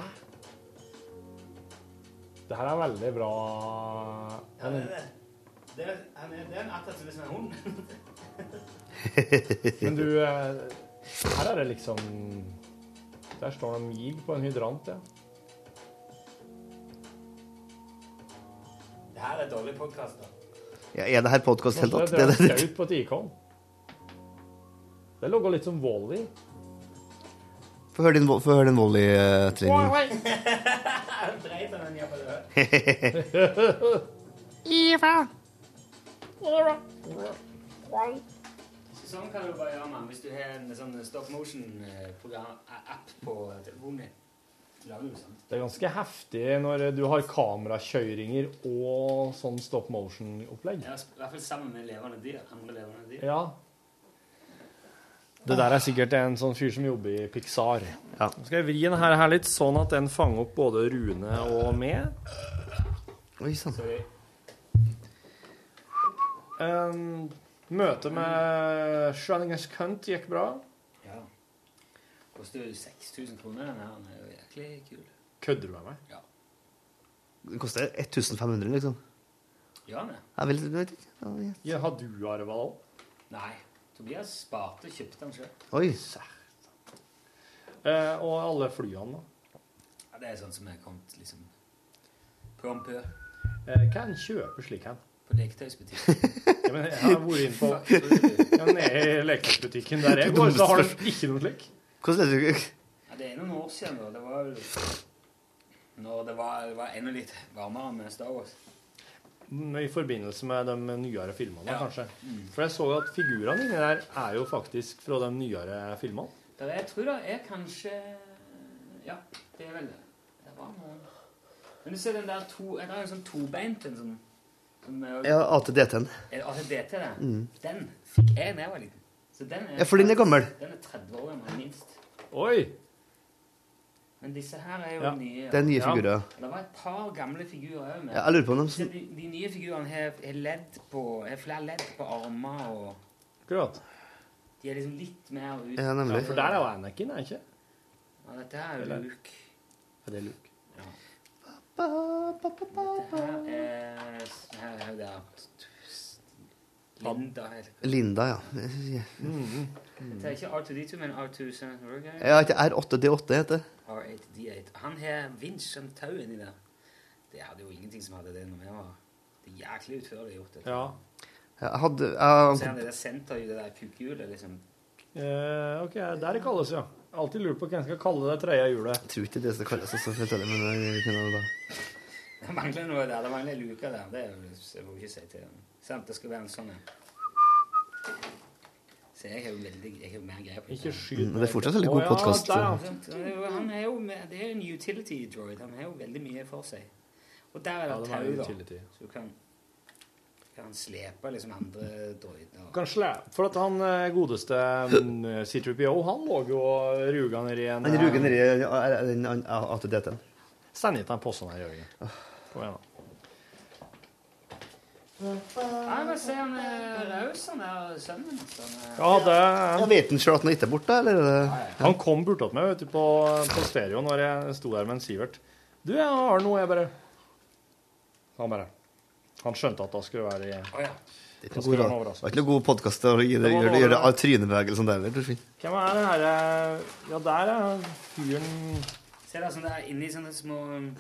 Speaker 3: Det her er veldig bra
Speaker 2: Ja, det er det. Det er, han er, det er en attraktiv som en hund.
Speaker 3: Men du eh, Her er det liksom Der står det en mig på en hydrant, ja.
Speaker 2: Det her er dårlig podkast, da.
Speaker 5: Ja, er det her podkast helt
Speaker 3: Kanskje
Speaker 5: opp?
Speaker 3: det
Speaker 5: Det,
Speaker 3: er
Speaker 5: det, det.
Speaker 3: skaut på et ikon. Det logger litt som Wall-E.
Speaker 5: Få høre din, vo- få høre din eh, volley-trening.
Speaker 2: Dreit han den jævla død? Sånn kan du bare gjøre, mann. Hvis du har en sånn stop eh, motion-app på telefonen din. Så lager du sånt.
Speaker 3: Det er ganske heftig når du har kamerakjøringer og sånn stop motion-opplegg.
Speaker 2: Ja, I hvert fall sammen med levende dyr. Andre levende dyr.
Speaker 3: Ja. Det der er sikkert en sånn fyr som jobber i Pixar.
Speaker 5: Ja.
Speaker 3: Nå skal jeg vri den her, her litt, sånn at den fanger opp både Rune og meg.
Speaker 5: Oi sann.
Speaker 3: Um, Møtet med Schwanninger's Cunt gikk bra.
Speaker 2: Ja. Koster jo 6000 kroner, den her. Den er jo jæklig kul.
Speaker 3: Kødder du med meg?
Speaker 5: Det koster 1500, liksom.
Speaker 2: Gjør den det?
Speaker 5: Jeg vil, jeg vet ikke. Ja, ja.
Speaker 3: Ja, har du arva den?
Speaker 2: Nei. Tobias sparte og kjøpte den sjøl.
Speaker 5: Oi.
Speaker 3: Eh, og alle flyene, da?
Speaker 2: Ja, det er sånn som er kommet liksom på ampør
Speaker 3: Eh, hva er en kjøper slik hen?
Speaker 2: på leketøysbutikken.
Speaker 3: Ja, men jeg har vært inne på
Speaker 2: ja,
Speaker 3: ja, nede i leketøysbutikken der jeg går, så har de ikke noe slik.
Speaker 5: Hvordan er det?
Speaker 2: det er noen år siden, da. Det var jo når det var, det var enda litt varmere med Star Wars.
Speaker 3: I forbindelse med de nyere filmene,
Speaker 2: Ja.
Speaker 3: kanskje. For jeg så at figurene inni der er jo faktisk fra de nyere filmene.
Speaker 2: Der er, jeg tror det er kanskje Ja, det er vel det. Men du ser den der to... Den er jo sånn tobeint, en sånn... som er-
Speaker 5: Ja, ATDT-en.
Speaker 2: Er det ATDT, det?
Speaker 5: Mm.
Speaker 2: Den fikk jeg da jeg var liten. Så den er...
Speaker 5: Ja, for den er gammel.
Speaker 2: Den er 30 år gammel, minst.
Speaker 3: Oi!
Speaker 2: Men disse her er jo
Speaker 5: Ja.
Speaker 2: nye.
Speaker 5: Det er nye Ja. figurer.
Speaker 2: Det var et par gamle figurer også med.
Speaker 5: Ja, jeg lurer på om de-
Speaker 2: Så de, de nye figurene har, har, ledd på, har flere ledd på armer og
Speaker 3: Akkurat.
Speaker 2: De er liksom litt mer ut...
Speaker 5: Ja, nemlig.
Speaker 3: Ja, for der er jo Anakin, er det ikke?
Speaker 2: Ja, dette her er
Speaker 3: Eller-
Speaker 2: jo Luke.
Speaker 3: Ja, det er Luke.
Speaker 2: Dette her er... Her er jo der... Linda heter
Speaker 5: Linda, ja.
Speaker 2: Det er ikke R2D2, men R2 Senator
Speaker 5: Ja, ikke R8D8 heter det.
Speaker 2: R8D8. Han har vinsj som tau inni der. Det hadde jo ingenting som hadde det når vi var Det er jæklig utførlig gjort. Det.
Speaker 5: Ja, Jeg hadde
Speaker 2: Så er
Speaker 5: jeg,
Speaker 2: det der senter i det der kukhjulet, liksom.
Speaker 3: Eh, ok, der det kalles, ja. Alltid lurt på hvem skal kalle det tredje hjulet.
Speaker 5: tror ikke det skal kalles også, for å telle, men jeg kunne det da.
Speaker 2: Det mangler noe der. Det mangler en luke der. Det er jo, jeg må ikke si til dem. Sant, det skal være en sånn en. Så jeg har jo veldig Jeg har jo mer greie på det.
Speaker 3: Ikke skyt
Speaker 5: Mm, men det er fortsatt veldig god podcast,
Speaker 3: Ja, der, ja.
Speaker 5: så-
Speaker 2: Sant? Det er jo- Han er jo med, det er jo en utility droid. Han har jo veldig mye for seg. Og der er
Speaker 3: Ja,
Speaker 2: det
Speaker 3: den har jo
Speaker 2: tau, da.
Speaker 3: utility.
Speaker 2: Så du kan, kan slepe liksom andre droider.
Speaker 3: Kanskje det. For at han eh, godeste mm, C3PO, han lå jo og ruga nedi en eh,
Speaker 5: Han ruger nedi er- er den an- ATDT-en.
Speaker 3: Send hit den posten her, Jørgen. Kom igjen, da.
Speaker 2: Nei, men se han er raus, han der sønnen. Så han er-
Speaker 3: Ja, det
Speaker 5: Jeg vet han sjøl at han ikke er borte, eller? er det-
Speaker 3: eh, Han kom bortåt meg vet du, på, på stereo når jeg sto der med en Sivert. Du, jeg har noe, jeg bare Han bare Han skjønte at da skulle det være
Speaker 2: oh, ja.
Speaker 5: Det er ikke noe god, da. Det er ikke noe god podkast å gjøre,
Speaker 3: Det var
Speaker 5: gjøre, gjøre
Speaker 3: dårlig.
Speaker 5: trynebevegelsen der heller, Torfinn.
Speaker 3: Hvem er den herre Ja, der er fyren
Speaker 2: Se der, sånn der inni sånne små um,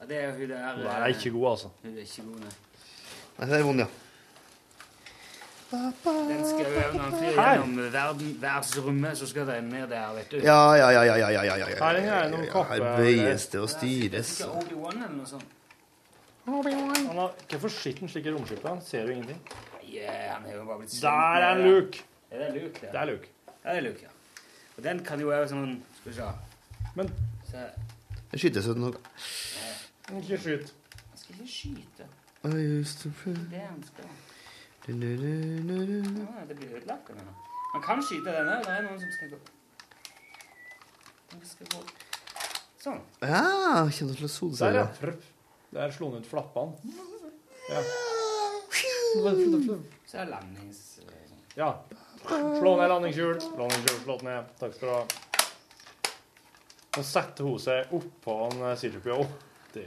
Speaker 2: Ja, det er jo hun der
Speaker 3: Hun der er ikke god, altså.
Speaker 2: Hun er ikke god, nei.
Speaker 5: Nei, det er vond, ja.
Speaker 2: Den skal jo når han flyr
Speaker 3: Her.
Speaker 2: gjennom verden, verdensrommet, så skal den ned der, vet du.
Speaker 5: Ja, ja, ja, ja, ja, ja, ja, ja,
Speaker 3: Her er
Speaker 5: ja,
Speaker 3: det noen
Speaker 5: ja.
Speaker 3: kopper,
Speaker 5: Her bøyes det og styres.
Speaker 2: Ikke Obi-Wan eller noe sånt.
Speaker 3: Han har, hvorfor sitter han slik i romskipet? Han ser jo ingenting.
Speaker 2: Yeah, eh, han er jo bare blitt
Speaker 3: Der er
Speaker 2: en
Speaker 3: Luke!
Speaker 2: Ja, det er Luke, det.
Speaker 3: Det er Luke.
Speaker 2: Ja, det er Luke, ja. Og den kan jo være sånn Skal vi se.
Speaker 3: Men
Speaker 2: Se.
Speaker 5: Det skytes ut noe.
Speaker 3: ikke skyt.
Speaker 2: Han skal ikke skyte.
Speaker 5: I used to
Speaker 2: Det
Speaker 5: pray.
Speaker 2: er det han skal.
Speaker 5: Du-du-du-du-du.
Speaker 2: Ja, det blir ødelagt, den her. Man kan skyte denne. Det er noen som skal gå Den skal gå Sånn.
Speaker 5: Ja, kjenner til å
Speaker 3: Der,
Speaker 5: solseile.
Speaker 3: ja. Der slo han ut flappene.
Speaker 2: Så er det landings...
Speaker 3: Ja. Slå ned landingshjul. Landingshjul slått ned. Takk skal du ha. Nå setter hun seg oppå en eh, C3PO. Det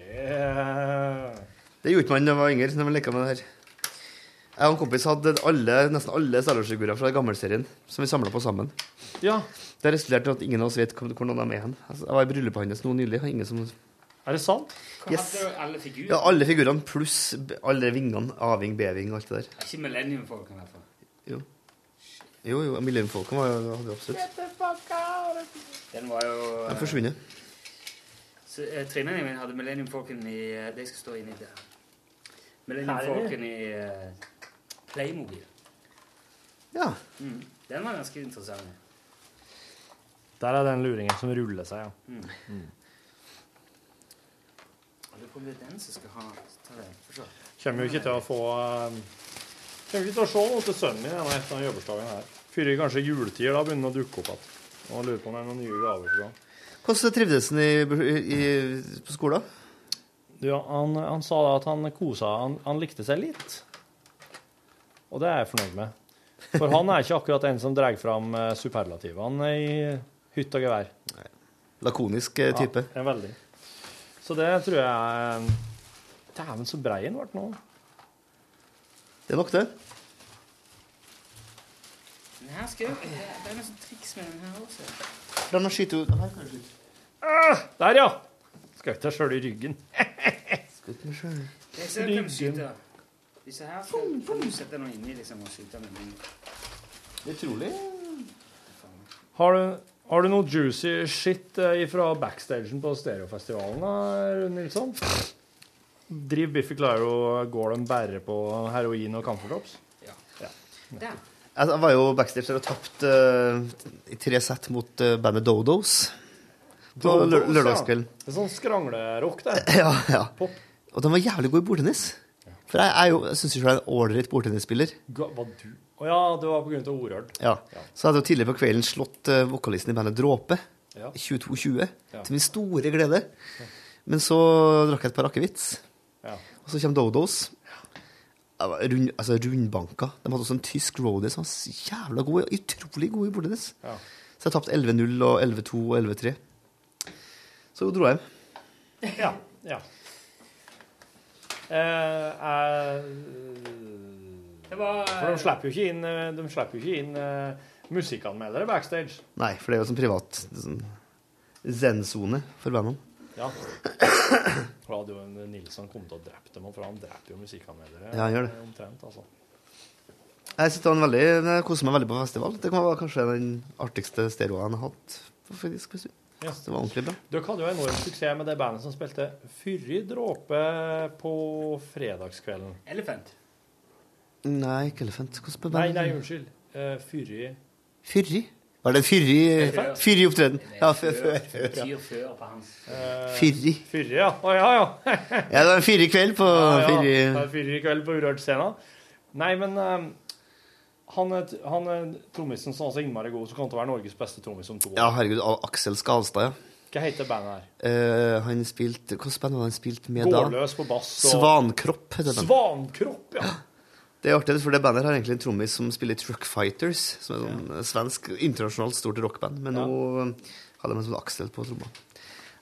Speaker 5: Det gjorde man da jeg var yngre. når man leka med det her. Jeg og en kompis hadde alle, nesten alle Star Wars-figurer fra gammelserien som vi samla på sammen.
Speaker 3: Ja.
Speaker 5: Det resulterte i at ingen av oss vet hvor hvor noen av dem er hen. Altså, jeg var i bryllupet hans nå nylig. og Ingen som...
Speaker 3: Er det sant?
Speaker 2: Hvor
Speaker 5: Yes.
Speaker 2: hadde du alle figurer?
Speaker 5: Ja, alle figurene pluss b- alle vingene. A-ving, B-ving og alt det der.
Speaker 2: Ikke Millennium-folkene, i hvert fall.
Speaker 5: Jo. Jo, jo, Millennium-folkene var jo- hadde vi absolutt.
Speaker 2: Den var jo
Speaker 5: De
Speaker 2: eh,
Speaker 5: har forsvunnet.
Speaker 2: Så eh, Tremenningen min hadde Millennium Falcon i eh, Det skal stå inni der. Millennium
Speaker 3: Her er det.
Speaker 2: Falcon i eh, Playmobil.
Speaker 5: Ja.
Speaker 2: Mm. Den var ganske interessant.
Speaker 3: Der er den luringen som ruller seg, ja.
Speaker 2: Jeg lurer på om det er den som skal ha ta den. Få se.
Speaker 3: Kommer jo ikke til å få eh, Kommer ikke til å se noe til sønnen min ennå etter denne jobbersdagen her. Fyrer i kanskje juletider da begynner den å dukke opp igjen. Og jeg lurer på om det er noen nye gaver på gang.
Speaker 5: Hvordan trivdes han i, i, på skolen?
Speaker 3: Du, han, han sa da at han kosa han, han likte seg litt. Og det er jeg fornøyd med. For han er ikke akkurat en som drar fram eh, superlativene i hytt og gevær.
Speaker 5: Lakonisk eh, type.
Speaker 3: Ja, en veldig. Så det tror jeg eh, Dæven, så brei han ble nå.
Speaker 5: Det er nok, det.
Speaker 2: Den her skal jo Det det er noe sånt triks med den her også.
Speaker 5: La meg skyte ut Her kan jeg skyte.
Speaker 3: Der, ja! Skal ikke ta sjøl i ryggen.
Speaker 5: Skutt meg selv.
Speaker 2: Jeg ser hvem skyter. Disse her skal kan du sette noe inni liksom, og skyte med den.
Speaker 5: Det er utrolig.
Speaker 3: Har du, har du noe juicy shit fra backstagen på Stereofestivalen, da, Nilsson? Driver Biffy Clyro går de bare på heroin og camphordrops?
Speaker 2: Ja. Der.
Speaker 6: Altså,
Speaker 5: Jeg jeg var jo backstage der og tapte eh, i tre sett mot eh, bandet Dodos.
Speaker 6: på
Speaker 3: Blowboss,
Speaker 6: lø
Speaker 3: ja.
Speaker 6: lørdagskvelden.
Speaker 3: Det er sånn skranglerock, det.
Speaker 6: Ja, ja. Og de var jævlig gode i bordtennis. For jeg, er jo- jeg syns ikke jeg er en ålreit bordtennisspiller.
Speaker 3: Ga- Var du Å ja, det var pga. Orhard.
Speaker 6: Ja. Så hadde jeg jo tidligere på kvelden slått eh, vokalisten i bandet Dråpe.
Speaker 3: Ja.
Speaker 6: 22-20.
Speaker 3: Ja.
Speaker 6: Til min store glede. Men så drakk jeg et par akevitts.
Speaker 3: Ja.
Speaker 6: Og så kommer Dodos. Jeg var Rund, altså rundbanka. De hadde også en tysk roadie som var så jævla god. Utrolig god i bordenes.
Speaker 3: Ja.
Speaker 6: Så jeg tapte 11-0 og 11-2 og 11-3. Så dro jeg hjem.
Speaker 3: Ja. ja. Eh, eh, For de slipper jo ikke inn, eh, de slipper jo ikke inn eh, musikkanmeldere backstage.
Speaker 6: Nei, for det er jo sånn privat det er sånn zen-sone for bandene.
Speaker 3: Ja. Radioen Nilsson kom til å drepe dem, for han dreper jo musikkanmeldere
Speaker 6: Ja, han gjør det.
Speaker 3: eh, omtrent. altså.
Speaker 6: Jeg synes det var en veldig, jeg koser meg veldig på festival. Det var kanskje den artigste stereoen jeg har hatt. Faktisk, hvis du-
Speaker 3: Ja.
Speaker 6: Det var ordentlig bra.
Speaker 3: Dere hadde jo enorm suksess med det bandet som spilte Fyrre dråpe på fredagskvelden.
Speaker 2: Elephant.
Speaker 6: Nei, ikke elefant. Hvordan ble
Speaker 3: Nei,
Speaker 6: bandet?
Speaker 3: nei, unnskyld. Uh, Fyrre
Speaker 6: Fyrri? Var det en fyrri,
Speaker 3: Før.
Speaker 6: fyrri opptreden? Ja, før, før, før, ja.
Speaker 2: Betyr før på hans.
Speaker 6: Fyrri.
Speaker 3: Fyrre, ja. Å ja, ja.
Speaker 6: Ja, det var en fyrri kveld på fyrri...
Speaker 3: Det er Fyrre i kveld på Urørt-scenen. Nei, men eh, han, er- han er trommisen som er så innmari god, som kommer til å være Norges beste trommis om to år.
Speaker 6: Ja, herregud, Al- Aksel Skalstad, ja.
Speaker 3: Hva heter bandet her?
Speaker 6: Eh, han spilte... Hvilket band var han spilt med da?
Speaker 3: Gårdløs på bass og
Speaker 6: Svankropp heter den.
Speaker 3: Svankropp, ja.
Speaker 6: Det er artig, for det bandet her har egentlig en trommis som spiller i Truck Fighters, som er sånn eh, svensk, internasjonalt stort rockband, men nå eh, hadde de en sånn Aksel på tromma.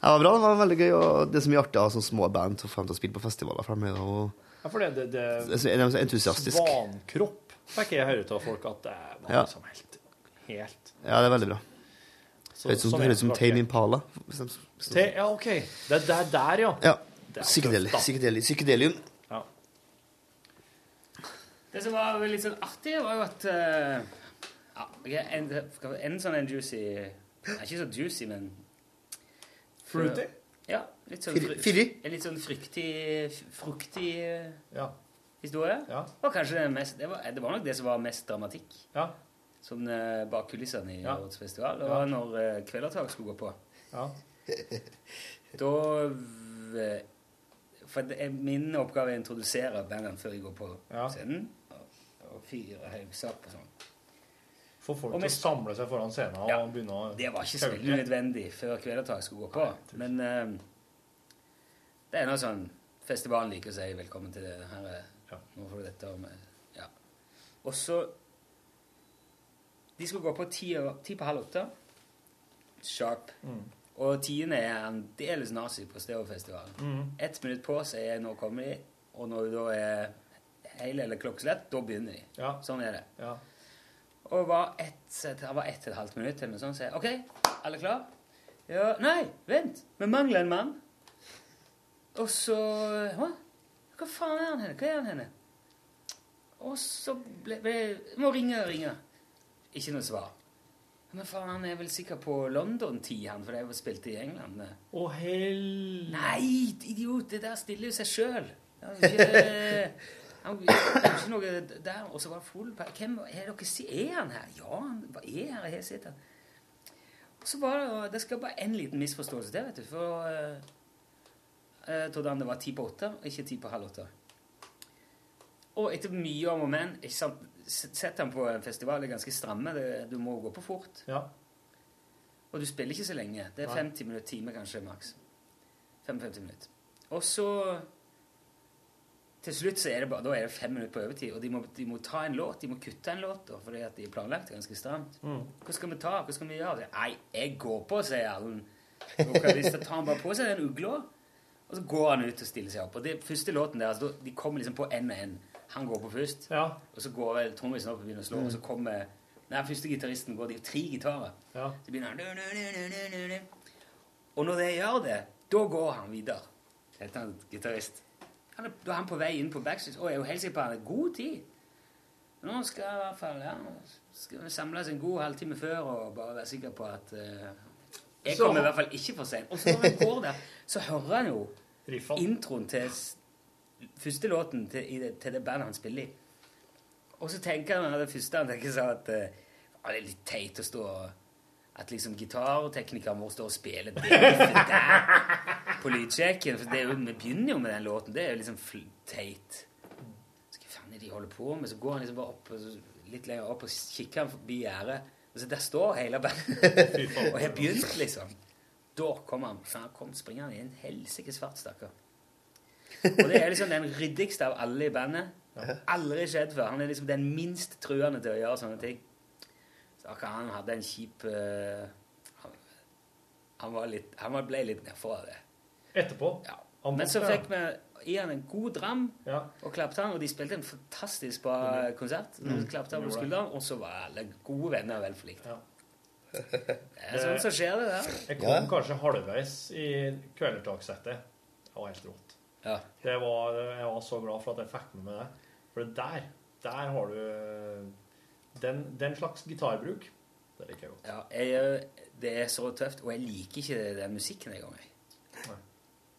Speaker 6: Ja, det var bra, det var veldig gøy, og det er så mye artig av sånne små band som får dem til å spille på festivaler for de er jo-
Speaker 3: ja for det, det,
Speaker 6: de
Speaker 3: det
Speaker 6: er så entusiastiske.
Speaker 3: Svankropp fikk jeg høre av folk at det var
Speaker 6: Ja.
Speaker 3: liksom helt, helt
Speaker 6: Ja, det er veldig bra.
Speaker 3: Så-
Speaker 6: Høres ut som,
Speaker 3: sånn er
Speaker 6: høres ut som
Speaker 3: det
Speaker 6: Tame
Speaker 3: artig.
Speaker 6: Impala. hvis de- hvis de-
Speaker 3: Te, Ja, OK. Det er der, der ja.
Speaker 6: Ja.
Speaker 3: Det er
Speaker 6: Psykedeli,
Speaker 3: tøft, da.
Speaker 6: psykedeli, psykedelium.
Speaker 2: Det som var litt sånn artig, var jo at eh, ja, jeg er en, skal vi- en sånn en juicy den er Ikke så juicy, men
Speaker 3: Fruity?
Speaker 2: Ja. Litt sånn,
Speaker 6: Firi-
Speaker 2: fru-
Speaker 6: firi?
Speaker 2: En litt sånn fruktig Fruktig eh,
Speaker 3: Ja.
Speaker 2: historie.
Speaker 3: Ja.
Speaker 2: Og kanskje den mest, det, var, eh, det var nok det som var mest dramatikk
Speaker 3: Ja.
Speaker 2: sånn eh, bak kulissene i
Speaker 3: Ja.
Speaker 2: årets festival. Det
Speaker 3: Ja.
Speaker 2: var når eh, Kvelertak skulle gå på.
Speaker 3: Ja.
Speaker 2: Da v- For det er min oppgave å introdusere bandene før jeg går på
Speaker 3: Ja.
Speaker 2: scenen. og- Og fyre høysapp og sånn.
Speaker 3: Få folk
Speaker 2: Og
Speaker 3: til å
Speaker 2: med-
Speaker 3: samle seg foran scenen og
Speaker 2: Ja,
Speaker 3: begynne å
Speaker 2: Det var ikke så
Speaker 3: kauke.
Speaker 2: veldig nødvendig før Kvelertak skulle gå på. Men eh, det er nå sånn Festivalen liker å si velkommen til det her. er- Nå får du dette om eh, Ja. Og så De skulle gå på ti, over- ti på halv åtte. Sharp. Og tiende er aldeles nazi på Stereofestivalen.
Speaker 12: Mm.
Speaker 2: Ett minutt på, så er jeg, nå kommer de. Og når du da er hele eller klokkeslett, da begynner de. Sånn er det. Og var ett, det var ett og et halvt minutt til, men sånn sier jeg, OK, alle klar? Ja, nei, vent, vi mangler en mann. Og så Hva? Hva faen er han henne? Hva er han henne? Og så ble, ble Må ringe, ringe. Ikke noe svar. Men faen, han er vel sikkert på London-tid, han, for det er jo spilt i England. eh.
Speaker 3: Å, hell...
Speaker 2: Nei, idiot! Det der stiller jo seg sjøl. eh, Han det er jo ikke noe der. Og så var det full pa- Hvem er dere si- Er han her? Ja, han hva er her. Jeg har sett han. Og så var det Det skal bare en liten misforståelse til, vet du. For eh, jeg trodde han det var ti på åtte, og ikke ti på halv åtte. Og etter mye om og men ikke sant, s- Sett han på en festival, det er ganske stramme. Det, du må gå på fort. Og du spiller ikke så lenge. Det er
Speaker 3: Nei.
Speaker 2: 50 minutter, time kanskje, maks. 55 minutter. Og så Til slutt så er det bare, da er det fem minutter på overtid, og de må, de må ta en låt. De må kutte en låt, da, fordi at de er planlagt ganske stramt. Hva skal vi ta? Hva skal vi gjøre? Nei, jeg går på, sier Erlend. Vokalist. Da tar han bare på seg den ugla, og så går han ut og stiller seg opp. Og det første låten deres, da- de kommer liksom på én og én. Han går på først, og så går vel trommisen opp og begynner å slå,
Speaker 3: Mm.
Speaker 2: og så kommer Nei, første gitaristen går, det er jo tre gitarer. Så begynner han du, du, du, du, du, du, du. Og når de gjør det, da går han videre. Helt han gitarist. Han er, da er han på vei inn på backstage. Og jeg er jo helt sikker på at han har god tid. Nå skal jeg i hvert fall ja, nå skal vi samles en god halvtime før og bare være sikker på at eh, Jeg
Speaker 3: Så-
Speaker 2: kommer i hvert fall ikke for sent. Og så når han går der, så hører han jo introen til s- første låten til, i det, til det bandet han spiller i. Og så tenker han det første han tenker seg at eh, ja, det er litt teit å stå og At liksom gitarteknikeren vår står og spiller det der på lydsjekken. For det er jo, vi begynner jo med den låten. Det er jo liksom fl- teit. Så hva faen er det de holder på med? Så går han liksom bare opp, og så litt lenger opp og kikker han forbi gjerdet. Og så der står hele bandet og har begynt, liksom. Da kom han. faen, Han kom springende i en helsike svart, stakkar. Og det er liksom den ryddigste av alle i bandet. Aldri skjedd før. Han er liksom den minst truende til å gjøre sånne ting. Stakkar, han hadde en kjip eh, han, han, var litt, han var- ble litt nedfor av det.
Speaker 3: Etterpå. Han
Speaker 2: Men så
Speaker 3: borte,
Speaker 2: fikk vi i han en god dram og klappte han, og de spilte en fantastisk bra konsert.
Speaker 3: Mm.
Speaker 2: Mm. Klappte han på
Speaker 3: Gjorde det.
Speaker 2: skulderen, og så var alle gode venner og vel forlikt. Det er
Speaker 3: Det-
Speaker 2: sånn som skjer, det der.
Speaker 3: Jeg kom kanskje halvveis i kvelertakssettet. Det var helt rått. Det var, jeg var så glad for at jeg fikk med meg det. For det der, der har du den, den slags gitarbruk. Det liker jeg godt.
Speaker 2: Ja, jeg, eh, det er så tøft, og jeg liker ikke den musikken engang. jeg.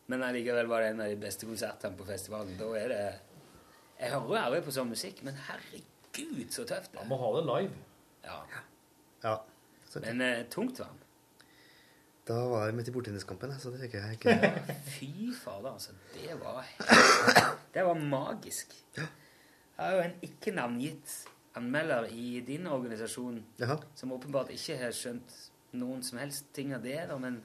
Speaker 2: Men allikevel var det en av de beste konsertene på festivalen. Da er det Jeg hører jo aldri på sånn musikk, men herregud, så tøft det er.
Speaker 3: Må ha det live.
Speaker 2: Ja.
Speaker 6: Ja.
Speaker 2: Men eh, tungt var den.
Speaker 6: Da var jeg midt i bordtenniskampen, jeg, så det fikk jeg ikke.
Speaker 2: Fy fader, altså. Det var helt- Det var magisk. Det er jo en ikke-navngitt anmelder i din organisasjon
Speaker 6: Jaha.
Speaker 2: som åpenbart ikke har skjønt noen som helst ting av det, da, men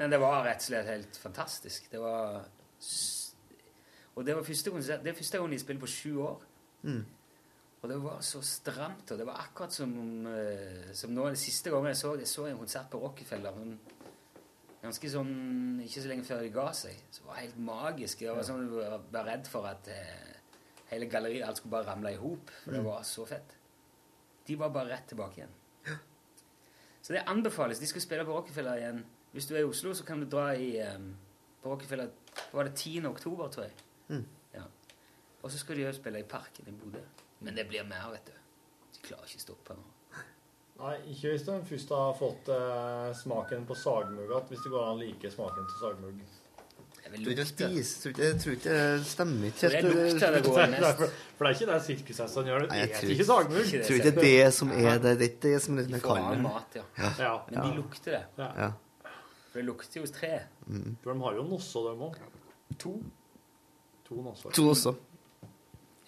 Speaker 2: Men det var rett og slett helt fantastisk. Det var s- Og det var første konsert Det er første gang de spiller på sju år.
Speaker 6: Mm.
Speaker 2: Og det var så stramt, og det var akkurat som, eh, som nå den siste gangen jeg så det. Jeg så en konsert på Rockefeller. Men ganske sånn Ikke så lenge før de ga seg. Så det var helt magisk. Jeg var
Speaker 3: Ja.
Speaker 2: sånn, jeg var redd for at eh, hele galleriet alt skulle bare ramle i hop. For det
Speaker 3: Mm.
Speaker 2: var så fett. De var bare rett tilbake igjen. Så det anbefales. De skal spille på Rockefeller igjen. Hvis du er i Oslo, så kan du dra i eh, på Rockefeller Var det 10. oktober, tror jeg.
Speaker 6: Mm.
Speaker 2: Ja. Og så skal de jo spille i Parken i Bodø. Men det blir mer, vet du. De klarer ikke å stoppe nå.
Speaker 3: Nei, ikke hvis du først har fått eh, smaken på sagmugg igjen. Hvis det går an å like smaken til sagmugg.
Speaker 6: Tror ikke jeg spiser tror ikke- Jeg tror ikke det stemmer ikke helt.
Speaker 3: For for det er ikke det sirkushestene gjør.
Speaker 6: Nei,
Speaker 3: De
Speaker 6: jeg
Speaker 3: spiser
Speaker 6: tror
Speaker 3: ikke sagmugg.
Speaker 6: Jeg tror ikke det er det som er det. Det er ikke det som er det
Speaker 2: De
Speaker 6: jeg
Speaker 2: får
Speaker 6: kaller
Speaker 2: annen
Speaker 6: det.
Speaker 2: mat, ja. Men de lukter det.
Speaker 6: Ja.
Speaker 2: For det lukter jo tre.
Speaker 6: Mm.
Speaker 3: For de har jo nosse, de òg. To. To nosser.
Speaker 6: To også.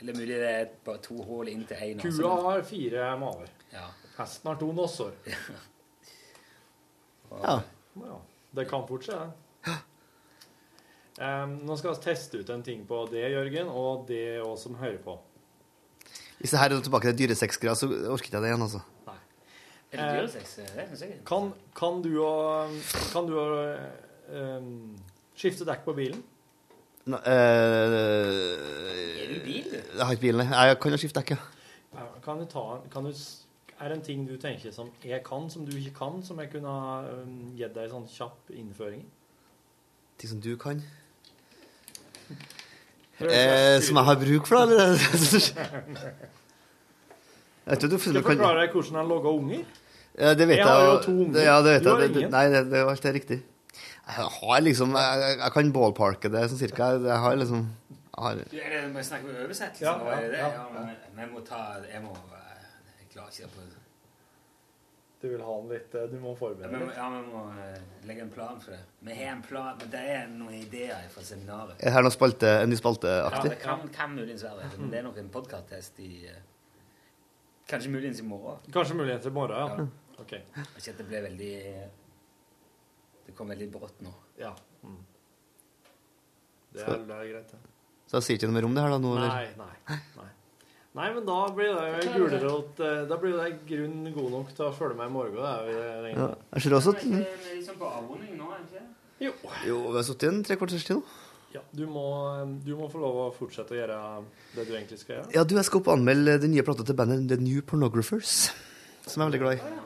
Speaker 2: Eller mulig det er bare to hull inn til én.
Speaker 3: Kua har fire maver.
Speaker 2: Ja.
Speaker 3: Hesten har to nosser.
Speaker 6: Ja.
Speaker 3: ja. Det kan fort skje, det. Em, nå skal vi teste ut en ting på det, Jørgen, og det òg som hører på.
Speaker 6: Hvis det her er tilbake til dyresexgreia, så orker ikke jeg det igjen, altså.
Speaker 2: Er det dyresex? Det er sikkert.
Speaker 3: Kan, kan du og Kan du og em, skifte dekk på bilen?
Speaker 6: Nå, eh,
Speaker 3: Er du bil, du?
Speaker 6: Jeg har ikke bil, nei. Jeg kan jo skifte dekk, ja.
Speaker 3: Er- Kan du ta en kan du, s- Er det en ting du tenker som jeg kan, som du ikke kan, som jeg kunne ha em, gitt deg en sånn kjapp innføring i?
Speaker 6: Ting som du kan. Eh, som jeg har bruk for, da? Eller? Jeg vet ikke, du,
Speaker 3: Skal jeg
Speaker 6: kan-
Speaker 3: forklare deg hvordan han logger unger?
Speaker 6: Ja, det vet jeg.
Speaker 3: Jeg har jo
Speaker 6: og-
Speaker 3: to unger.
Speaker 6: Det, ja, det vet
Speaker 3: Du har
Speaker 6: jeg. Det,
Speaker 3: ingen.
Speaker 6: nei, det, det er jo alt det er riktig. Jeg har liksom Jeg, jeg- jeg kan ballparke det sånn cirka. Jeg har liksom jeg har,
Speaker 2: Du, er det, må jeg snakke med oversettelsen?
Speaker 3: Ja,
Speaker 2: nå, er det det?
Speaker 3: ja,
Speaker 2: Ja, men jeg må ta Jeg må eh, Jeg klarer ikke det på
Speaker 3: Du vil ha den litt eh, Du må
Speaker 2: Ja,
Speaker 3: forberede
Speaker 2: men-
Speaker 3: deg.
Speaker 2: ja, vi må eh, legge en plan for det. Vi har en plan, men det er noen ideer fra seminaret.
Speaker 6: er det her noe spalte, en ny
Speaker 2: Ja, det
Speaker 6: spalteaktig?
Speaker 2: kan, kan muligens være det. Men det er nok en podkast-test i eh, Kanskje muligens i morgen.
Speaker 3: Kanskje mulighet til i morgen, ja. Ok.
Speaker 2: Ikke at det ble veldig eh, Det kom veldig brått nå.
Speaker 3: Ja. Det er, det er greit, det.
Speaker 6: Så jeg sier ikke noe mer om det her da nå,
Speaker 3: Nei,
Speaker 6: eller?
Speaker 3: nei, nei. Nei, men da blir det gulrot eh, Da blir det grunn god nok til å følge med i morgen. Det er jo det jeg regner
Speaker 6: Ja,
Speaker 3: med.
Speaker 6: jeg ser også at
Speaker 2: Vi er liksom på avrunding nå, er vi ikke det?
Speaker 6: Jo, vi har sittet i en tre kvarters tid nå.
Speaker 3: Ja, du må, um, du må få lov å fortsette å gjøre det du egentlig skal gjøre.
Speaker 6: Ja, du, jeg skal opp og anmelde den nye plata til bandet The New Pornographers. Som jeg er veldig glad i.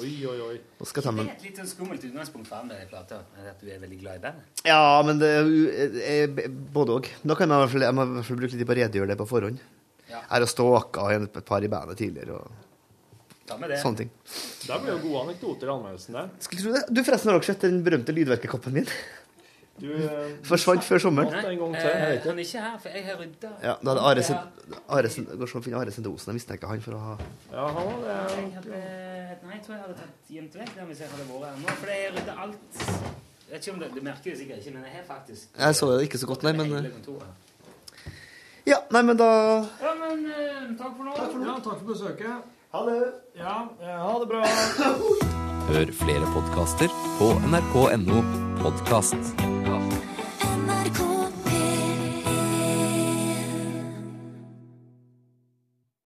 Speaker 3: Oi, oi, oi.
Speaker 6: Nå skal jeg ta
Speaker 2: Det
Speaker 6: med
Speaker 2: er et litt sånn skummelt utgangspunkt for andre plater. er At du er veldig glad i bandet.
Speaker 6: Ja, men det er jo- eh, eh, både òg. Da kan jeg i hvert fall, jeg må i hvert fall bruke litt tid på å redegjøre det på forhånd.
Speaker 2: Ja.
Speaker 6: Jeg har stalka en- et par i bandet tidligere og
Speaker 2: Ta med det.
Speaker 6: sånne ting.
Speaker 3: Der blir jo gode anekdoter i anmeldelsen der.
Speaker 6: Skulle tro det. Du, forresten, har dere sett den berømte lydverkekoppen min?
Speaker 13: Du, eh,
Speaker 6: Forsvant før sommeren.
Speaker 13: Hatt en gang til, jeg
Speaker 2: Eh,
Speaker 13: vet
Speaker 2: han er ikke her, for jeg har rydda.
Speaker 6: Ja, da hadde Are Send- Are Send- Går sånn å finne Are Sendosen. Jeg mistenker han for å ha
Speaker 13: Ja, han var det.
Speaker 2: Jeg hadde, eh, nei, jeg tror jeg hadde tatt gjemt vekk den hvis jeg hadde vært her nå. For jeg rydda alt. Jeg vet ikke om det, Du merker det sikkert ikke, men jeg har faktisk
Speaker 6: Jeg så det ikke så godt, nei, men
Speaker 2: hele
Speaker 6: eh,
Speaker 2: kontoret.
Speaker 6: Ja, nei, men da
Speaker 13: Ja, men
Speaker 2: eh,
Speaker 13: takk for nå. Takk for, ja, takk for besøket. Ha det. Ja, eh, ha det bra.
Speaker 14: Hør flere podkaster på nrk.no podkast.